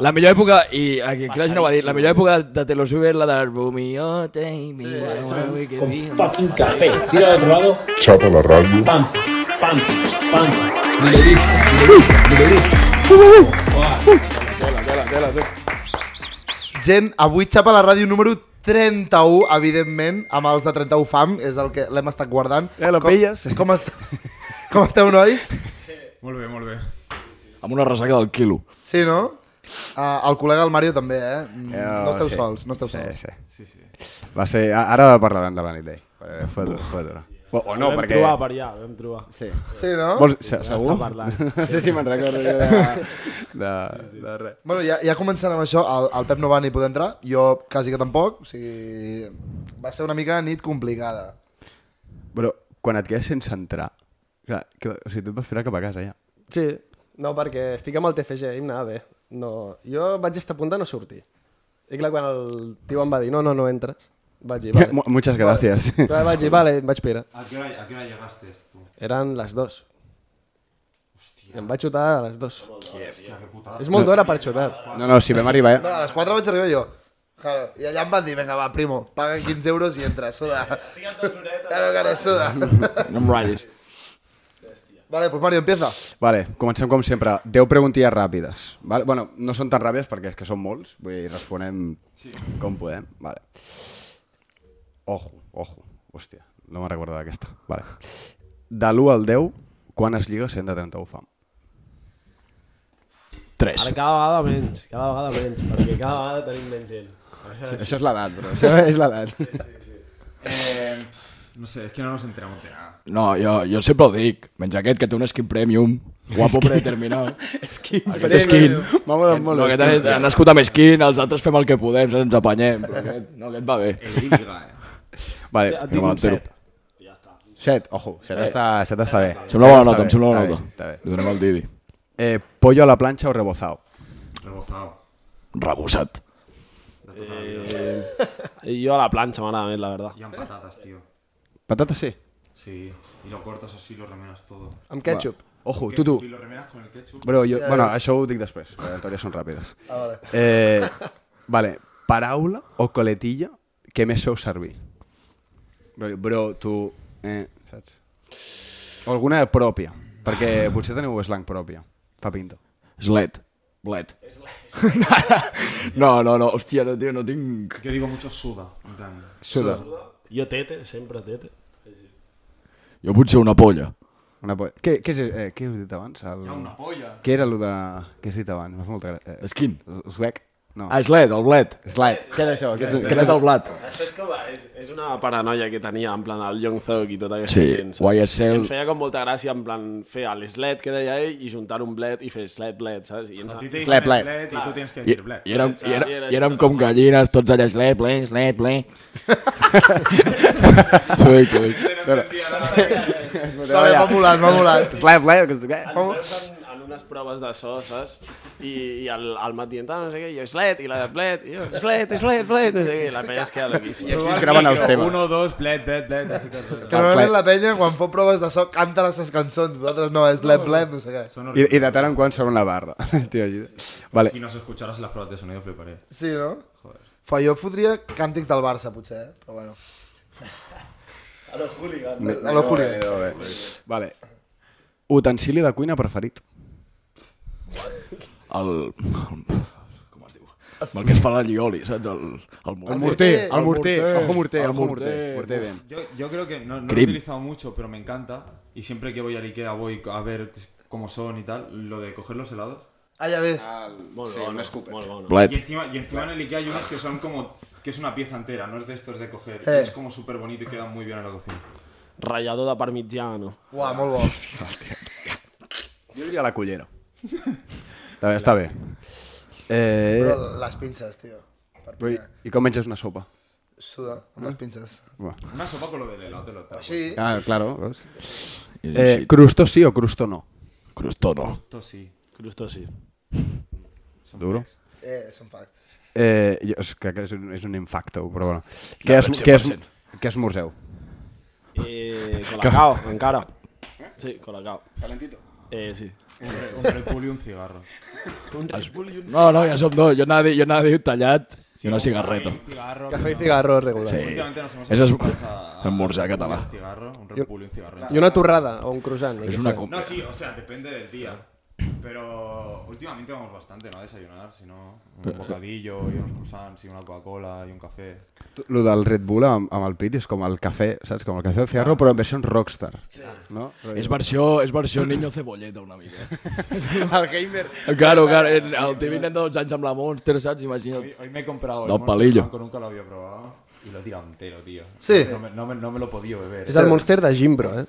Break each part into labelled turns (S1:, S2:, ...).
S1: La millor època, i eh, aquí en Clash no ho va dir, la
S2: Passadíssim.
S1: millor època de Taylor Swift és la del Romeo, take me away, que
S3: Con
S1: be-
S3: fucking café. Tira al otro lado.
S4: Chapa la radio.
S3: Pam, pam, pam. Ni le diste, ni le diste, ni le diste.
S5: Gent, avui xapa la ràdio número 31, evidentment, amb els de 31 fam, és el que l'hem estat guardant.
S2: Eh, lo
S5: Com-
S2: pilles?
S5: Com, est com esteu, nois?
S6: Molt bé, molt bé.
S1: Amb una ressaca del quilo.
S5: Sí, no? Uh, el col·lega el Mario també, eh? Mm, no esteu
S2: sí.
S5: sols, no esteu
S2: sí,
S5: sols.
S2: Sí. sí, sí. Va ser... a- Ara parlarem de la nit d'ell. perquè Fue dura, fue dura. O, o no,
S7: vam
S2: perquè...
S7: trobar per allà, vam trobar.
S2: Sí.
S5: Sí, no?
S2: Vols, se- segur?
S7: Està parlant.
S2: No sé si me'n recordo jo de, de, de res.
S5: Bueno, ja, ja començant amb això, el, el Pep no va ni poder entrar, jo quasi que tampoc, o sigui... Va ser una mica nit complicada.
S2: Però quan et quedes sense entrar... Clar, que, o sigui, tu et vas filar cap a casa, ja.
S8: Sí, no, perquè estic amb el TFG i em anava bé. No, jo vaig estar a punt de no sortir. I clar, quan el tio em va dir, no, no, no entres, vaig dir, vale.
S2: Mu- Muchas gracias.
S8: Clar, vaig dir, vale, em vaig pirar.
S6: ¿A qué hora, a qué hora llegaste tú?
S8: Eren les dues. Hòstia. Em vaig xutar a les dues.
S6: Hostia, qué putada.
S8: És molt d'hora per xutar.
S2: No, no, si vam
S1: eh,
S2: arribar...
S5: No, a les 4 vaig arribar jo. Claro. I allà em van dir, vinga, va, primo, paga 15 euros i entra, suda. Claro, claro, suda.
S1: No em ratllis.
S5: Vale, pues Mario, empieza.
S2: Vale, comencem com sempre. 10 preguntilles ràpides. Vale? Bueno, no són tan ràpides perquè és que són molts, vull dir, responem sí. com podem. Vale. Ojo, ojo. Hòstia, no me'n recordo d'aquesta. Vale. De l'1 al 10, quantes lligues 131 fam?
S1: Tres.
S7: Ara cada vegada menys, cada vegada menys, perquè cada vegada tenim menys gent.
S2: Això és l'edat, però. Això és l'edat.
S6: Eh, no sé, es que no nos enteramos de nada.
S1: No, jo, jo sempre ho dic, menys aquest que té un skin premium, guapo predeterminat. skin aquest skin.
S2: M'ha molat molt.
S1: No, aquest ha, ha nascut amb skin, els altres fem el que podem, saps? ens apanyem, però aquest, no, aquest va bé.
S6: El Liga, eh.
S2: Vale,
S7: Et dic un
S1: m'entero.
S7: set.
S2: 7, ojo, 7 està, set està bé.
S1: Sembla bona
S2: Set
S1: nota,
S2: està
S1: em sembla bona
S2: bé, està bé,
S1: nota.
S2: està bé.
S1: Li donem el Didi.
S2: Eh, pollo a la planxa o rebozado?
S6: Rebozado.
S1: Rebusat.
S7: I jo a la planxa m'agrada més, la verdad.
S6: Y han patatas, tío.
S2: Patata sí.
S6: Sí. Y lo cortas así, lo remenas todo.
S8: Amb ketchup.
S2: Ojo, tu, tu.
S6: Y lo remenas con el ketchup.
S2: Bro, jo, bueno, això ho dic després, perquè les teories són ràpides. Ah, vale. Eh, vale, paraula o coletilla que més feu servir? Bro, bro tu... Eh, saps? O alguna pròpia, perquè potser teniu slang pròpia. Fa pinto.
S1: Slet. Blet. No, no, no, hòstia, no, tio, no tinc...
S6: Yo digo mucho suda, en plan.
S2: Suda.
S7: Jo tete, sempre tete.
S1: Jo potser una polla.
S2: Una po què, què, és, eh, què heu dit abans? El...
S6: Ya una polla.
S2: Què era allò de... Què has dit abans? M'ha fet molta gràcia. Eh,
S1: Skin.
S2: Swag? No.
S1: Ah, Slet, el blet.
S2: Slide. Què era això? Què és,
S1: Aquest el blat.
S7: Això és com, és, és una paranoia que tenia, en plan, el Young Thug i tota aquesta
S1: Sí,
S7: gent. saps?
S1: YSL.
S7: I ens feia com molta gràcia, en plan, fer l'eslet que deia ell i juntar un blet i fer slet, blet, saps? I ens...
S6: A ti te
S2: Slap,
S6: dicen
S2: slap.
S6: slap y tú tienes que
S1: I,
S6: decir black.
S1: i, érem, i, érem, i érem com gallines, tots allà, E slet, ble, slet, ble. T'ho dic, t'ho dic.
S5: Vale, m'ha molat, m'ha molat.
S2: Slide, slide.
S7: Ens veus en, en unes proves de so, saps? I, i el, el Mat dient, "Ah, no sé què, i jo, slet, i la de plet, i jo, slet, slet, plet, no sé què, i la penya es queda loquíssima.
S2: Així es graven els temes.
S6: Uno, dos, bled, bled, bled. así que-
S5: Que normalment la penya, quan fa proves de so, canta les seves cançons. Vosaltres no, és blep, blep, no sé què.
S6: Son
S2: I,
S6: horribles.
S2: I de tant en quant sona una barra. Tio, allí. Vale.
S6: Si nos escucharas las pruebas de sonido, fliparé.
S5: Sí, no? Fa, jo fotria càntics del Barça, potser, eh? Però bueno. A lo hooligan. A lo hooligan.
S2: Vale. Utensili de cuina preferit.
S1: El... el com es diu? Amb el que es fa la llioli, saps? El, el, el
S5: morter,
S2: El morter. Ojo morter,
S1: el
S2: ojo morter.
S1: morter.
S2: Morter bien.
S6: Yo, yo creo que no, no lo he
S1: Cream.
S6: utilizado mucho, pero me encanta. Y siempre que voy al Ikea voy a ver cómo son y tal. Lo de coger los helados.
S5: Ah, ja ves.
S7: Molt sí, bon, molt, molt bon.
S6: Y
S1: Blet.
S6: encima, y encima en el Ikea hay unos que son como... Que es una pieza entera, no es de estos de coger.
S5: Eh.
S6: Es como súper bonito y queda muy bien en la cocina.
S7: Ratllador de parmigiano.
S5: Uah, molt bo.
S2: Jo diria la cullera. Està bé, està bé. Eh,
S5: Però les pinces, tio.
S2: ui,
S5: Perquè
S2: I com menges una sopa?
S5: suda amb les pinces.
S6: Una sopa con lo del helado, te lo tapo.
S5: Així,
S2: Ah, claro. veus? Eh,
S1: Eh,
S2: crusto sí o crusto no?
S1: Crustó no.
S6: Esto sí.
S7: Crustosi.
S2: Duro.
S5: eh, són facts.
S2: Eh, jo és- crec que és un, és un infacto, però bueno. Què es, què es, què esmorzeu?
S7: Eh, colacao, encara. Sí, colacao. Calentito. Eh, sí.
S6: Un, un Red Bull y un cigarro.
S7: Un Red Bull i un...
S1: No, no, ja som dos. Jo anava a dir, jo anava a dir tallat i una cigarreta.
S6: Un cigarro,
S8: Café y cigarro regular.
S1: Sí.
S6: Últimamente nos hemos
S1: Eso es
S6: acostumbrado a-
S1: almorzar
S6: a-
S1: catalán.
S6: Un cigarro, un Red Bull y un cigarro.
S8: Y una turrada o un croissant.
S1: És una
S6: No,
S1: compra.
S6: sí, o sea, depende del día. Pero últimamente vamos bastante, ¿no? A desayunar, si no, un bocadillo y unos croissants y una Coca-Cola y un café.
S2: Lo del Red Bull amb, amb el pit és com el cafè, saps? Com el cafè de Fierro, però en versió rockstar. No?
S1: És versió, és versió Niño Cebolleta, una mica.
S8: El gamer.
S1: Claro, claro, el, el típic nen de 12 anys amb la Monster, saps? Imagina't.
S6: Hoy, hoy me he comprado el
S1: Dos
S6: Monster
S1: palillos.
S6: Blanco, nunca lo había probado. Y lo he tirado entero, tío.
S5: Sí.
S6: No me, no me- no me lo he podido beber.
S8: Es el monster de Jimbro, eh.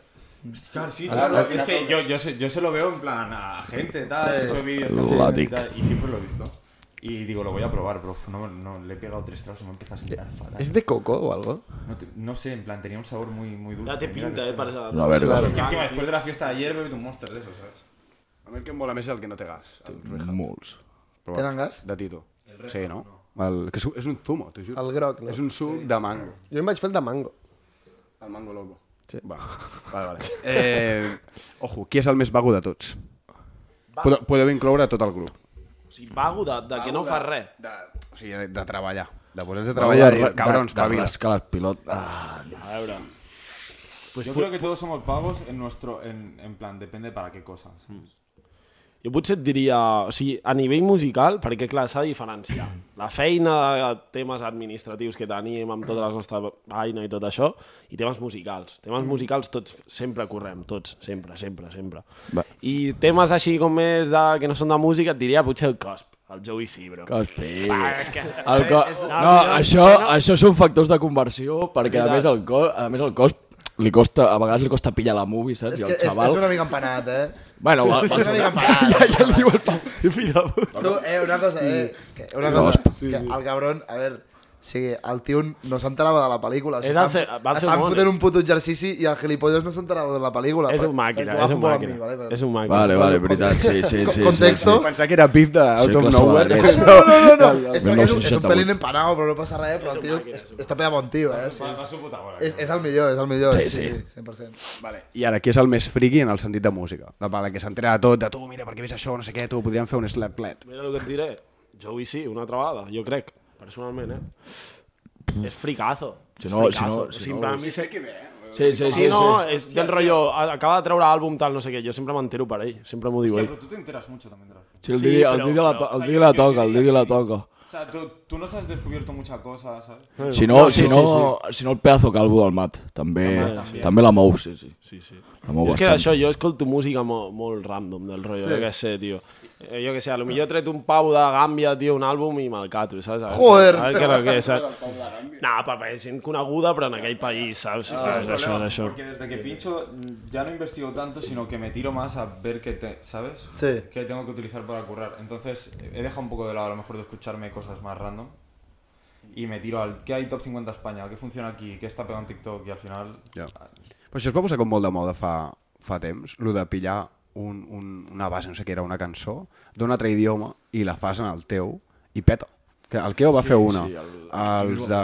S6: Claro, sí, claro. Es que yo, yo, se, yo se lo veo en plan a gente, tal. esos vídeos que
S1: La
S6: hacen y
S1: dic.
S6: tal. Y siempre lo he visto. Y digo, lo voy a probar, pero no, no, le he pegado tres tragos y me empieza a sentar fatal.
S8: ¿Es de coco o algo?
S6: No, te- no sé, en plan, tenía un sabor muy, muy dulce.
S7: Ja té
S6: Mira
S7: pinta,
S6: que-
S7: eh, per esa...
S1: La verga.
S6: Es que encima, después de la fiesta de ayer, bebí un monster de esos, ¿sabes?
S2: A mi el que em mola més és el que no té gas. El Reja.
S1: Molts.
S2: Però
S5: Tenen
S2: va,
S5: gas?
S2: De Tito. Sí, no? El, que és, un- és un zumo, t'ho juro.
S8: El groc, no?
S2: És un suc de mango.
S8: Yo me he hecho el de mango.
S2: El mango loco.
S8: Sí.
S2: Va, vale, vale. Eh, ojo, qui és el més vago de tots? Podeu, podeu incloure tot el grup.
S7: O sigui, vago de, de que no fa res.
S2: De, o sigui, de, de treballar. De posar-se a treballar. i dir, Cabrons,
S1: de, de
S2: pavila.
S1: rascar les pilot. Ah,
S6: Yo creo que todos somos pavos en nuestro. En, en plan, depende para qué cosas.
S7: Jo potser et diria, o sigui, a nivell musical, perquè clar, s'ha de diferenciar. La feina de temes administratius que tenim amb tota la nostra feina i tot això, i temes musicals. Temes musicals tots sempre correm, tots, sempre, sempre, sempre.
S1: Va.
S7: I temes així com més de, que no són de música, et diria potser el Cosp, el Joey C, bro.
S1: que hosti.
S7: Ah, és que...
S1: El co... No, això, això són factors de conversió, perquè a més el, co... a més el cos li costa, a vegades li costa pillar la movie, saps? I
S5: És que
S1: el
S5: és, és
S1: xaval...
S5: una mica empanat, eh?
S1: Bueno, va,
S5: És una
S1: va,
S5: mica empanat.
S1: ja li diu el Pau. Mira,
S5: Tu, eh, una cosa, eh? Que, una cosa, que el cabrón, a veure, o sigui, el tio no s'enterava de la pel·lícula. O sigui,
S7: És el
S5: estan-
S7: seu- va al seu
S5: estan
S7: món,
S5: fotent
S7: eh?
S5: un puto exercici i el gilipolles no s'enterava de la pel·lícula.
S7: És
S5: però-
S7: un màquina, és un
S5: però agafo molt amb
S7: màquina.
S5: mi, vale? Però-
S7: És un màquina.
S1: Vale, vale, veritat, sí, sí,
S5: Co-
S1: sí.
S5: contexto.
S1: Sí,
S2: Pensar que era pif de Out
S1: Sí,
S2: of
S1: que
S2: Nowhere.
S1: s'adreça.
S2: No, no, no.
S5: No, no, és perquè és un, és un
S1: 1968.
S5: pelín empanado, però no passa res, però el tio és, està pega bon tio, eh? Sí,
S6: A su puta bola.
S5: és, és el millor, és el millor,
S1: Sí,
S5: sí, sí,
S1: sí.
S5: sí 100%.
S2: Vale. I ara, qui és el més friki en el sentit de música? La pala que s'entera de tot, de tu, mira, perquè ves això, no sé què, tu, podríem fer un slap plat.
S7: Mira el que et diré. Joey sí, una altra vegada, jo crec, personalment, eh? És fricazo.
S1: Mm. Si no-
S7: és fricazo.
S1: si no- si
S7: O sigui,
S1: no-
S7: per mi
S2: eh?
S1: sí, sí,
S7: Sí,
S1: sí,
S7: no, és del rotllo, a- acaba de treure àlbum tal, no sé què, jo sempre m'entero per ell, sempre m'ho diu
S6: Hostia,
S7: ell.
S6: pero tú te enteras mucho también de las cosas.
S1: sí, el Didi, el Didi la, to- el Didi la toca, el Didi la toca.
S6: O sea, tú, tú nos has descubierto mucha cosa, ¿sabes?
S1: Si no,
S7: sí,
S1: si no, si no el pedazo calvo del mat, també, també la mou, sí, sí.
S7: Sí, sí.
S1: La mou
S7: És que
S1: bastant.
S7: això, jo escolto música molt, molt random del rotllo, sí. jo què sé, tio. Eh, Jo què sé, a lo millor he tret un pavo de Gàmbia, tio, un àlbum i me'l cato, saps? A veure-
S5: Joder!
S7: A veure què és el que és, saps? No, perquè és gent coneguda, però en aquell país, saps? Ah, és això, és això.
S6: Porque desde que pincho mm, ya no investigo tanto, sino que me tiro más a ver qué te, ¿sabes?
S5: Sí.
S6: Qué tengo que utilizar para currar. Entonces he dejado un poco de lado a lo mejor de escucharme cosas más random. Y me tiro al qué hay top 50 España, qué funciona aquí, qué está pegado en TikTok y al final...
S2: Ja. Però això es va posar com molt de moda fa, fa temps, lo de pillar un, un, una base, no sé què era, una cançó, d'un altre idioma i la fas en el teu i peta. Que el Keo va fer una. els de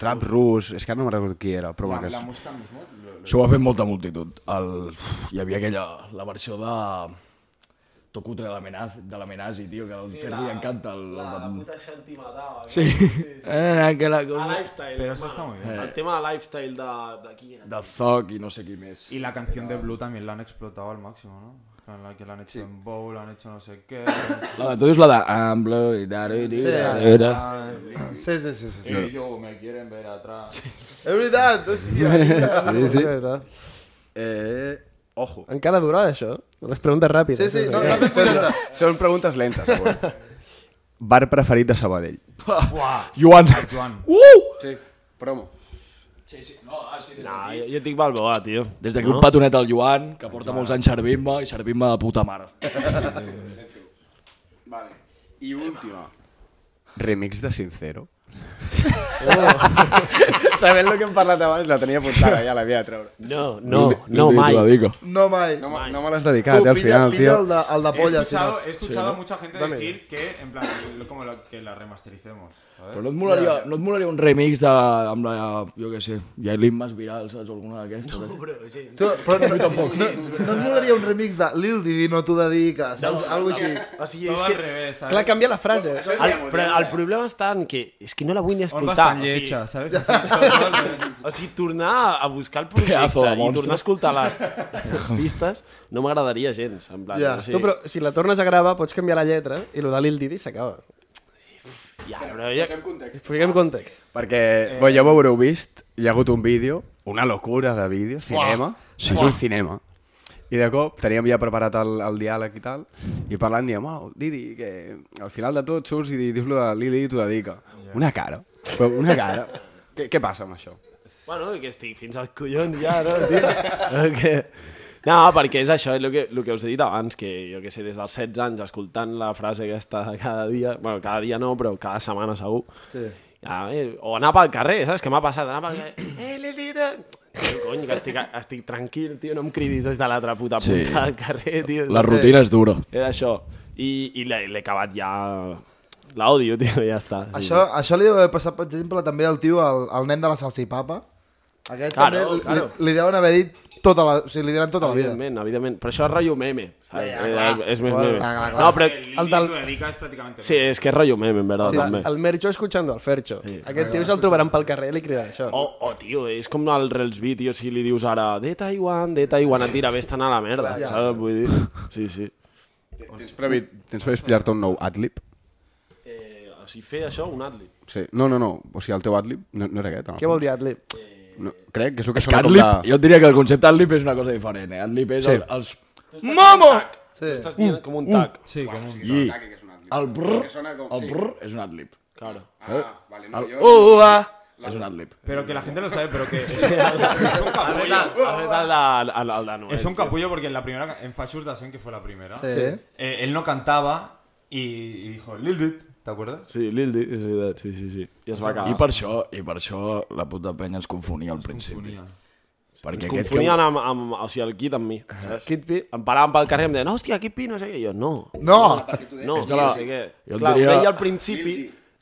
S2: Trap Rus, és que ara no me'n recordo qui era, però
S6: La,
S2: bueno, que
S6: la
S2: és...
S6: música mismo... lo- lo-
S1: Això ho ha fet molta multitud. El... Hi havia aquella, la versió de... Tocutre de l'amenazi, de l'amenazi, tio, que al sí, Ferri encanta el... el...
S7: puta Shanti matava.
S1: Sí. Eh, aquella
S7: A
S1: cosa...
S7: Lifestyle,
S6: Pero eso
S7: hermano.
S6: está muy bien.
S7: El tema de Lifestyle de, Eh. de qui era?
S1: De Zoc i no sé qui més.
S6: Y la canción de Blue también la han explotado al máximo, ¿no? En la que la han hecho en Bowl, la han hecho no sé qué.
S1: La de, tu dius la de... I'm blue, i da, di, di, da, di, da.
S5: Sí, sí, sí, sí. sí.
S6: Y yo me quieren ver atrás.
S5: És veritat, hòstia.
S1: Sí, sí.
S2: Eh, ojo.
S8: Encara dura, això? Les preguntes ràpides.
S5: Sí, sí,
S8: eh?
S5: no, no t'he cuidat.
S2: Són preguntes lentes, avui. Bar preferit de Sabadell.
S1: Joan.
S6: Joan,
S2: Sí, promo.
S7: No, jo, jo et dic Balboa, tio.
S1: Des d'aquí un petonet al Joan, que porta molts anys servint-me i servint-me de puta mare.
S2: Vale. I última. Remix de Sincero. Sabent el que hem parlat abans, la tenia apuntada, ja la havia de treure.
S7: No, no, no, mai.
S5: No mai.
S2: No, me- no me l'has dedicat, eh, al final,
S5: pilla
S2: tio.
S5: el de, el de
S6: He
S5: polla, si
S6: escuchado,
S5: no.
S6: he escuchado a mucha gente decir que, en plan, lo- como lo- que la remastericemos. ¿sabes?
S1: Però no et molaria, no et molaria un remix de, amb la, jo què sé, Yailin Mas Viral, saps? Alguna d'aquestes. No, bro.
S5: Tu, però no, no, no et molaria un remix de Lil Didi, no t'ho dedica, saps? Algo així.
S7: O sigui,
S6: Todo
S7: és
S6: al
S7: que...
S6: revés, ¿sabes?
S8: Clar, canvia la frase.
S7: El, però el problema està en que és que no la vull ni
S6: Ondas
S7: escoltar.
S6: tan
S7: O sigui,
S6: llecha, ¿sabes? Así, todo- todo al revés.
S7: O sigui, tornar a buscar el
S1: Pedazo de
S7: projecte i
S1: monstre.
S7: tornar a escoltar les, les pistes no m'agradaria gens, en plan,
S5: Ja.
S7: no sé.
S8: Tu, però si la tornes a gravar, pots canviar la lletra i lo de Lil Didi s'acaba.
S7: Ja, però ja...
S8: Fiquem context.
S2: Perquè, bé, ja ho haureu vist, hi ha hagut un vídeo, una locura de vídeo, cinema, sí, és un cinema. I de cop teníem ja preparat el, el diàleg i tal, i parlant diem, oh, Didi, que al final de tot surts i di- dius lo de Lili i t'ho dedica. Una cara, però una cara. què, què passa amb això?
S7: Bueno, que estic fins als collons ja, no, tio? que... No, perquè és això, és el que, el que us he dit abans, que jo que sé, des dels 16 anys, escoltant la frase aquesta de cada dia, bueno, cada dia no, però cada setmana segur, sí. ja, eh, o anar pel carrer, saps? Què m'ha passat? Anar pel carrer... Eh, Lilita! Cony, que estic, estic tranquil, tio, no em cridis des de l'altra puta punta
S1: Sí.
S7: sí. del carrer, tio.
S1: La rutina és dura.
S7: Era això. I, i l'he l'he acabat ja... L'àudio, tio, ja està. Ah, Sí.
S5: Això, això li deu haver passat, per exemple, també al tio, al, al nen de la salsipapa. Aquest
S7: Claro,
S5: també li-
S7: claro.
S5: Li, li deuen haver dit tota la... O sigui, li diran tota la vida.
S7: Evidentment, evidentment. Però això és rotllo meme, saps?
S5: Ja, clar.
S7: Eh, és més
S5: Clar,
S7: meme.
S5: clar, clar, clar.
S7: No, però...
S6: El, el
S8: El del-
S6: tu dedicas prácticamente.
S7: Sí, és que és rotllo meme, en veritat,
S5: Sí, sí.
S7: també.
S8: El Mercho escuchando al Fercho. Aquest tio se'l trobaran pel carrer i li cridaran això.
S7: O, o, tio, és com el Rels B, tio, si li dius ara de Taiwan, de Taiwan, et dirà, vés-te'n a la merda, saps? Vull dir... Sí, sí.
S2: Tens previst, tens previst pillar-te un nou adlib?
S7: Eh, o sigui, fer això, un atli.
S2: Sí. No, no, no, o sigui, el teu adlib no, no era aquest.
S8: Què vol dir Adlib?
S2: No, crec que és el que
S1: És que Adlib, jo et diria que el concepte Adlib és una cosa diferent, eh? Adlib és
S2: Sí.
S1: el, els... Mamo!
S7: Sí. Estàs dient com un tac.
S6: Sí, con un...
S1: I
S2: Ah, que és un adlib.
S1: el brr,
S2: Que sona com-
S1: el
S2: sí.
S1: brr és un Adlib.
S7: Claro.
S2: Ah, vale, no,
S1: El ua és un Adlib.
S6: Pero que la gente lo sabe, pero que...
S7: Has fet el, has fet el, el, el, el de Noel.
S6: Es un capullo porque en la primera, en Fast Dasen, que fue la primera,
S5: Sí.
S6: eh, él no cantaba y, y dijo, Lil Dit, ¿te acuerdas?
S7: Sí, Lildi, és veritat, sí, sí, sí. I es va acabar.
S1: I per això, i per això la puta penya es confonia al principi.
S6: Unía.
S1: Perquè
S7: Ens
S1: aquest
S7: confonien amb, amb, o sigui, el Kid amb mi. Saps? Kid Pi. Em paraven pel carrer i em deien, hòstia, Kid Pi, no sé què. I jo, no,
S5: No!
S7: no,
S1: de la-
S7: no sé què.
S1: jo et diria-
S7: Clar, diria... deia al principi,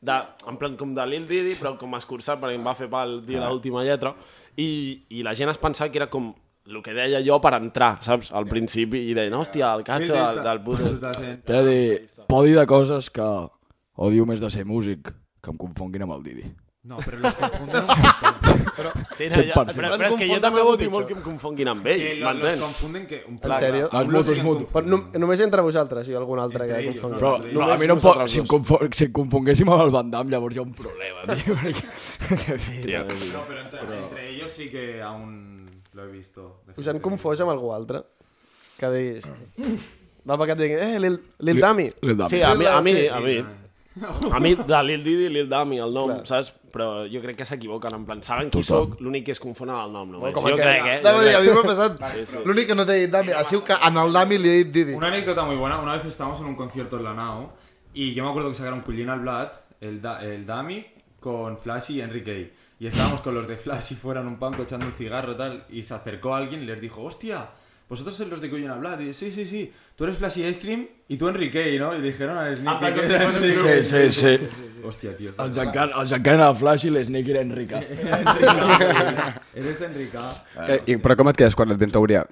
S7: de, en plan com de Lil Didi, però com escurçat, perquè em va fer pal dir l'última lletra, i, i la gent es pensava que era com el que deia jo per entrar, saps? Al principi, i deien, hòstia, el
S6: Lil
S7: catxo
S6: Dit,
S7: del, del puto...
S6: Fast Dasen.
S1: T'he de dir, podi de coses que odio més de ser músic que em confonguin amb el Didi.
S6: No, pero los confunden,
S7: Sí, no, jo,
S1: 100%.
S7: però, però, és que jo també vull dir molt que em confonguin amb ell,
S6: que los, los
S7: m'entens?
S6: confunden que un
S8: En sèrio?
S1: Ah,
S6: Los
S1: es mutuo, es mutuo.
S8: Però no, només entre vosaltres i algun altre
S6: Entre
S8: que
S6: ells,
S8: confongui.
S1: Però
S6: Només
S1: no, a mi no em pot...
S7: nosaltres
S1: Si em,
S7: dos.
S1: confo- si em confonguéssim amb el Van Damme, llavors hi ha un problema, tio. perquè- Hòstia.
S6: No, pero entre, entre ellos sí que aún lo he visto.
S8: Us han confós amb algú altre? Que diguis... Va, perquè et diguin, eh, Lil, Lil Dami.
S1: Lil Dami.
S7: Sí, a mi, a mi, a mi. A mi, de Lil Didi, Lil Dami, el nom, saps? Però jo crec que s'equivoquen, en plan, saben qui sóc, l'únic que es confonen el nom, només. Jo crec, eh?
S5: Dame,
S7: Jo
S5: a
S7: crec.
S5: mi m'ha passat. L'únic que no t'he dit Dami, ha sigut que en el Dami li he dit Didi.
S6: Una anécdota muy buena. Una vez estábamos en un concierto en la NAO y yo me acuerdo que sacaron Cullina al Blad, el, Da- el Dami, con Flash y Enrique. Y estábamos con los de Flash y fuera en un panco echando un cigarro tal. Y se acercó alguien y les dijo, hostia, vosotros sois los de Cullina al Blad. Y yo, sí, sí, sí, tú eres Flash y Ice Cream y tú Enrique, ¿no? Y le dijeron a Sneaky que era Enrique.
S1: Sí, sí, sí.
S6: Hostia, tío.
S1: El Giancar, el Giancar era Flash i l'Sneaky era Enrica.
S6: Eres Enrique.
S2: Que, Eh, i, però com et quedes quan et ven teoria?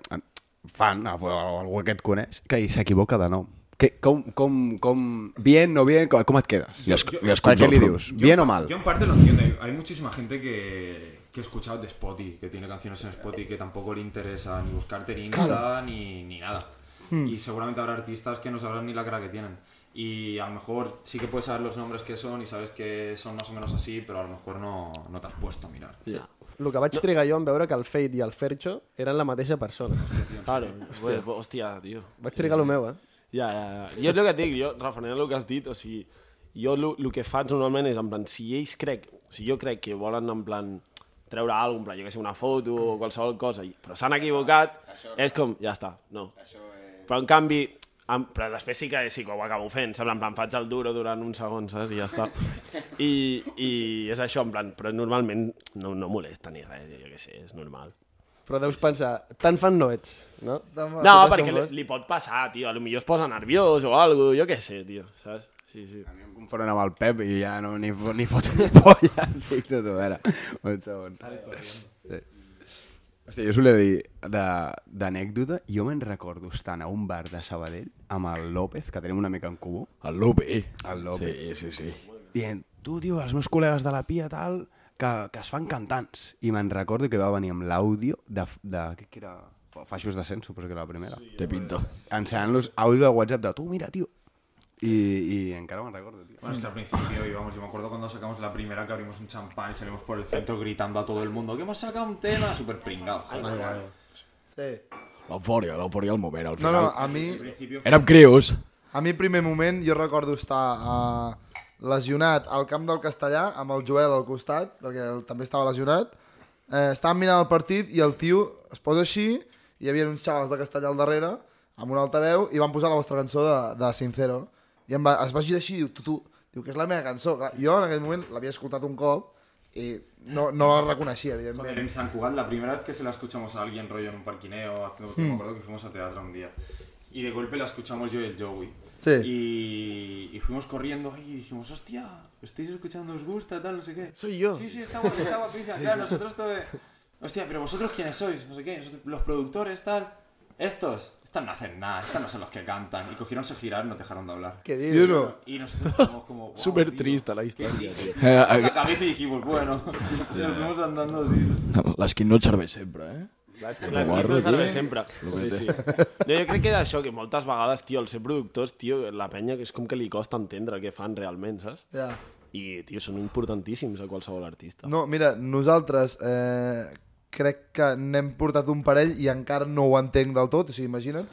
S2: Fan, algú, algú que et coneix, que hi s'equivoca de nom. Que, com, com, com, bien, no bien, com, com et quedes?
S1: Li es- li
S2: Quan-
S1: escuts
S2: què
S1: el
S2: li
S1: front.
S2: dius? Bien o mal?
S6: Yo en parte lo entiendo. Hay, hay muchísima gente que, que he escuchado de Spotify, que tiene canciones en Spotify que tampoco le interesa ni buscarte ni Insta ni, ni nada.
S2: Hmm.
S6: Y seguramente habrá artistas que no sabrán ni la cara que tienen. Y a lo mejor sí que puedes saber los nombres que son y sabes que son más o menos así, pero a lo mejor no, no te has puesto a mirar.
S7: Ja.
S8: El que vaig trigar jo en veure que el Fate i el Fercho eren la mateixa persona.
S7: Claro, hòstia, hòstia, tio.
S8: Vaig trigar el meu, eh?
S7: Ja, ja, ja. Jo és el que et dic, jo, referent al que has dit, o sigui, jo el que faig normalment és, en plan, si ells crec, si jo crec que volen, en plan, treure alguna cosa, en plan, jo que sé, una foto o qualsevol cosa, i- però s'han equivocat, és com, ja està, no. Però, en canvi, Em- però després sí que, sí que ho acabo fent, saps? En plan, faig el duro durant un segon, saps? I ja està. I, i és això, en plan, però normalment no, no molesta ni res, jo què sé, és normal.
S8: Però deus pensar, tan fan no ets, no?
S7: No, perquè li, li pot passar, tio, a lo millor es posa nerviós o alguna cosa, jo què sé, tio, saps? Sí, sí.
S2: em confonen amb el Pep i ja no, ni, fo- ni fot ni polla. Estic tot, a veure, un segon. Sí. Hòstia, jo us volia dir, de- d'anècdota, jo me'n recordo estant a un bar de Sabadell amb el López, que tenim una mica en comú,
S1: El Lupi.
S2: el López,
S1: Sí, sí, sí.
S2: dient, tu, tio, els meus col·legues de la pia, tal, que, que es fan cantants. I me'n recordo que va venir amb l'àudio de, f- de, què que era? Faixos de cent, suposo que era la primera. Sí.
S1: Te pinto.
S2: Ensenyant-los àudio de WhatsApp de, tu, mira, tio. I, i encara me'n recordo, tio.
S6: Bueno, es que al principio íbamos, yo me acuerdo cuando sacamos la primera que abrimos un champán y salimos por el centro gritando a todo el mundo que hemos sacado un tema súper pringados.
S5: Sí.
S1: L'eufòria, l'eufòria al moment, al
S5: No,
S1: final.
S5: no, a mi,
S1: Érem crios.
S5: a mi primer moment jo recordo estar eh, lesionat al camp del Castellà amb el Joel al costat, perquè el, també estava lesionat. Eh, estàvem mirant el partit i el tio es posa així, i hi havia uns xavals de Castellà al darrere, amb un altaveu, i van posar la vostra cançó de, de Sincero. I em va, es va girar així i diu, tu, tu, diu que és la meva cançó. Clar, jo en aquell moment l'havia escoltat un cop i no, no la reconeixia,
S6: Joder,
S5: evidentment.
S6: en San Cugat, la primera vez que se la escuchamos a alguien rollo en un parquineo,
S7: Hmm.
S6: haciendo- me acuerdo que fuimos a teatro un día. Y de golpe la escuchamos yo y el Joey.
S5: Sí.
S6: Y, y fuimos corriendo ahí y dijimos, hostia, estáis escuchando, os gusta, tal, no sé qué.
S7: Soy yo.
S6: Sí, sí, está guap- está guapísima. Claro, nosotros todo de, Hostia, pero vosotros quiénes sois, no sé qué, nosotros- los productores, tal. Estos, estos no hacen nada, estos no son los que cantan. Y cogieron, se giraron, nos dejaron de hablar.
S8: Què
S5: Sí o
S8: dius?
S5: no?
S6: Y nosotros estábamos como. "Guau,
S7: Súper
S6: tío,
S7: triste la
S6: qué
S7: historia,
S6: triste".
S1: Eh,
S2: Ah,
S6: A
S1: eh,
S6: la cabeza y dijimos, bueno, y nos fuimos andando así.
S1: L'esquí eh, no et serveix sempre, eh?
S7: Les, les
S1: guarro,
S7: guarro,
S1: tio.
S7: sempre. Sí, sí. No, jo crec que d'això, que moltes vegades, tio, al ser productors, tio, la penya que és com que li costa entendre què fan realment, saps?
S5: Ja.
S7: I, tio, són importantíssims a qualsevol artista.
S5: No, mira, nosaltres eh, crec que n'hem portat un parell i encara no ho entenc del tot, o sigui, imagina't.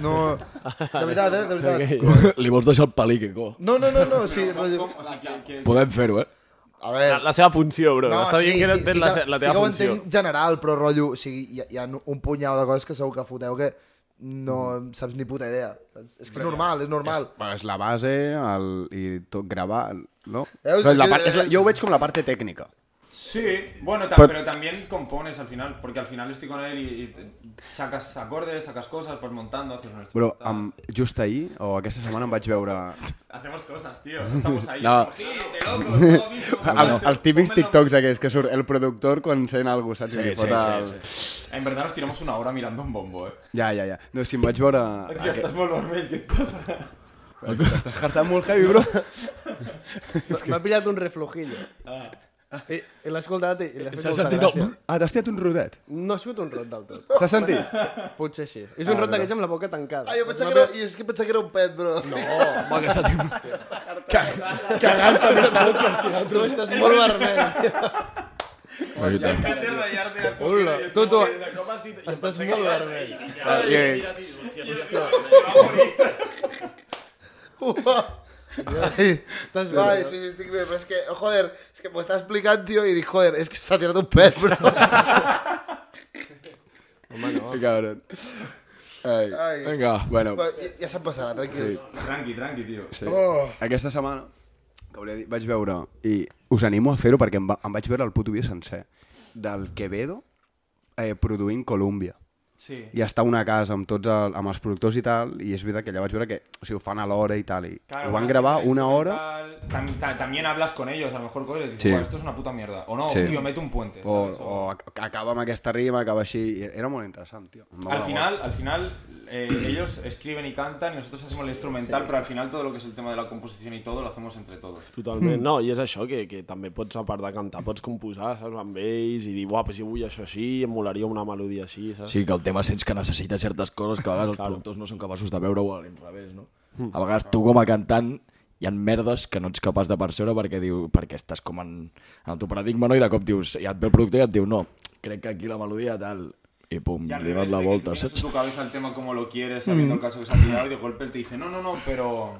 S5: No, de veritat, eh? De veritat.
S1: Li vols deixar el pelí, que co.
S5: No, no, no, no, o sigui, rotllo...
S6: O sea, que- que-
S1: Podem fer-ho, eh?
S7: La,
S5: A veure...
S7: la seva funció, bro. No, Està dient sí, que no entens sí, la,
S5: que-
S7: se- la
S5: sí que
S7: teva
S5: ho
S7: funció.
S5: entenc general, però rotllo... O sigui, hi ha, hi ha un punyau de coses que segur que foteu que no
S7: Mm.
S5: en saps ni puta idea. És, és que és normal, és normal.
S2: Bueno, és la base el, i tot gravar, no?
S5: Veus?
S2: Però és la part, és la, jo ho veig com la part tècnica.
S6: Sí, bueno, ta-
S2: Pero-
S6: pero también compones al final, porque al final estoy con él y, y te- sacas acordes, sacas cosas, pues montando, haces nuestro.
S2: Però amb, just ahir, o aquesta setmana, em vaig veure...
S6: Hacemos cosas, tío. Estamos ahí.
S2: No.
S6: como, sí, de locos, todo mismo,
S2: els,
S6: macho,
S2: els típics
S6: ponme la-
S2: TikToks aquells que surt el productor quan sent alguna cosa, saps? Sí, sí, el... sí, sí.
S6: En verdad nos tiramos una hora mirando un bombo, eh.
S2: Ja, ja, ja. No, si em vaig veure...
S6: Tío, estás por vermell, ¿qué te pasa?
S2: Estàs hartant molt heavy, bro.
S8: M'ha pillat un reflujillo.
S5: Ah.
S8: I, i l'he escoltat i, i l'he fet
S1: S'ha
S8: molta
S1: sentit
S8: gràcia.
S1: el...
S2: Ah, t'has tirat un rodet.
S8: No ha sigut un rot del tot.
S2: S'ha sentit?
S8: Potser sí. És un rot d'aquells amb la boca tancada.
S5: Ah, jo pensava que era, i és que pensava que era un pet, bro. No.
S1: Va, Oh, que s'ha tingut...
S8: Cagant-se més boques, tio. Tu estàs molt vermell.
S6: Vete a rayarte a
S8: Hola,
S6: y el
S8: tu, tu.
S6: copo de copas, tío, yo
S8: Estàs
S6: pensé que
S8: molt
S6: ibas a
S8: vermell.
S5: Ai,
S8: Estàs bé.
S5: Ai, sí, sí, estic bé, però és que, joder, és que m'ho està explicant, tio, i dic, joder, és que s'ha tirat un pet, bro.
S2: Que cabron. Ai.
S5: Ai.
S2: Vinga. Bueno,
S5: Va, Ja, ja se'n passarà, tranquils.
S6: ir. Tranqui, tranqui, tío.
S2: sí. Aquesta setmana, que volia dir, vaig veure, i us animo a fer-ho perquè em, va, em vaig veure el puto vídeo sencer, del Quevedo eh, produint Colúmbia.
S6: Sí.
S2: i està a una casa amb tots el, amb els productors i tal, i és veritat que allà vaig veure que o sigui, ho fan a l'hora i tal, i
S6: Claro,
S2: ho van
S6: bueno,
S2: gravar
S6: el
S2: una hora
S6: instrumental, tam- ta- también hablas con ellos, a lo mejor coges y dices,
S2: Sí.
S6: "Buah, esto es una puta mierda. O no,
S2: Sí.
S6: tío, mete un puente.
S2: o,
S6: ¿sabes?
S2: o ac- acaba amb aquesta rima, acaba així, i era molt interessant, tio. Em va
S6: Al
S2: agradar
S6: final, al final eh, ellos escriben y cantan, y nosotros hacemos el instrumental, pero al final todo lo que es el tema de la composición y todo lo hacemos entre todos.
S7: Totalment. No, i és això, que, que també pots, a part de cantar, pots composar, saps, amb ells, i dir, buah, però si vull això així, em molaria una melodia així, saps?
S1: Sí, que el tema sents que necessita certes coses que a vegades els productors no són capaços de veure o a l'inrevés, no? A vegades tu com a cantant hi ha merdes que no ets capaç de percebre perquè diu perquè estàs com en, en el teu paradigma no? i de cop dius, ja et ve el productor i et diu no, crec que aquí la melodia tal i pum,
S6: al
S1: li dones
S6: revés,
S1: la
S6: de que tú
S1: volta,
S6: tienes en
S1: saps?
S6: tu cabeza el tema como lo quieres, sabiendo el caso que se ha tirado, y de golpe él te dice, no, no, no, pero...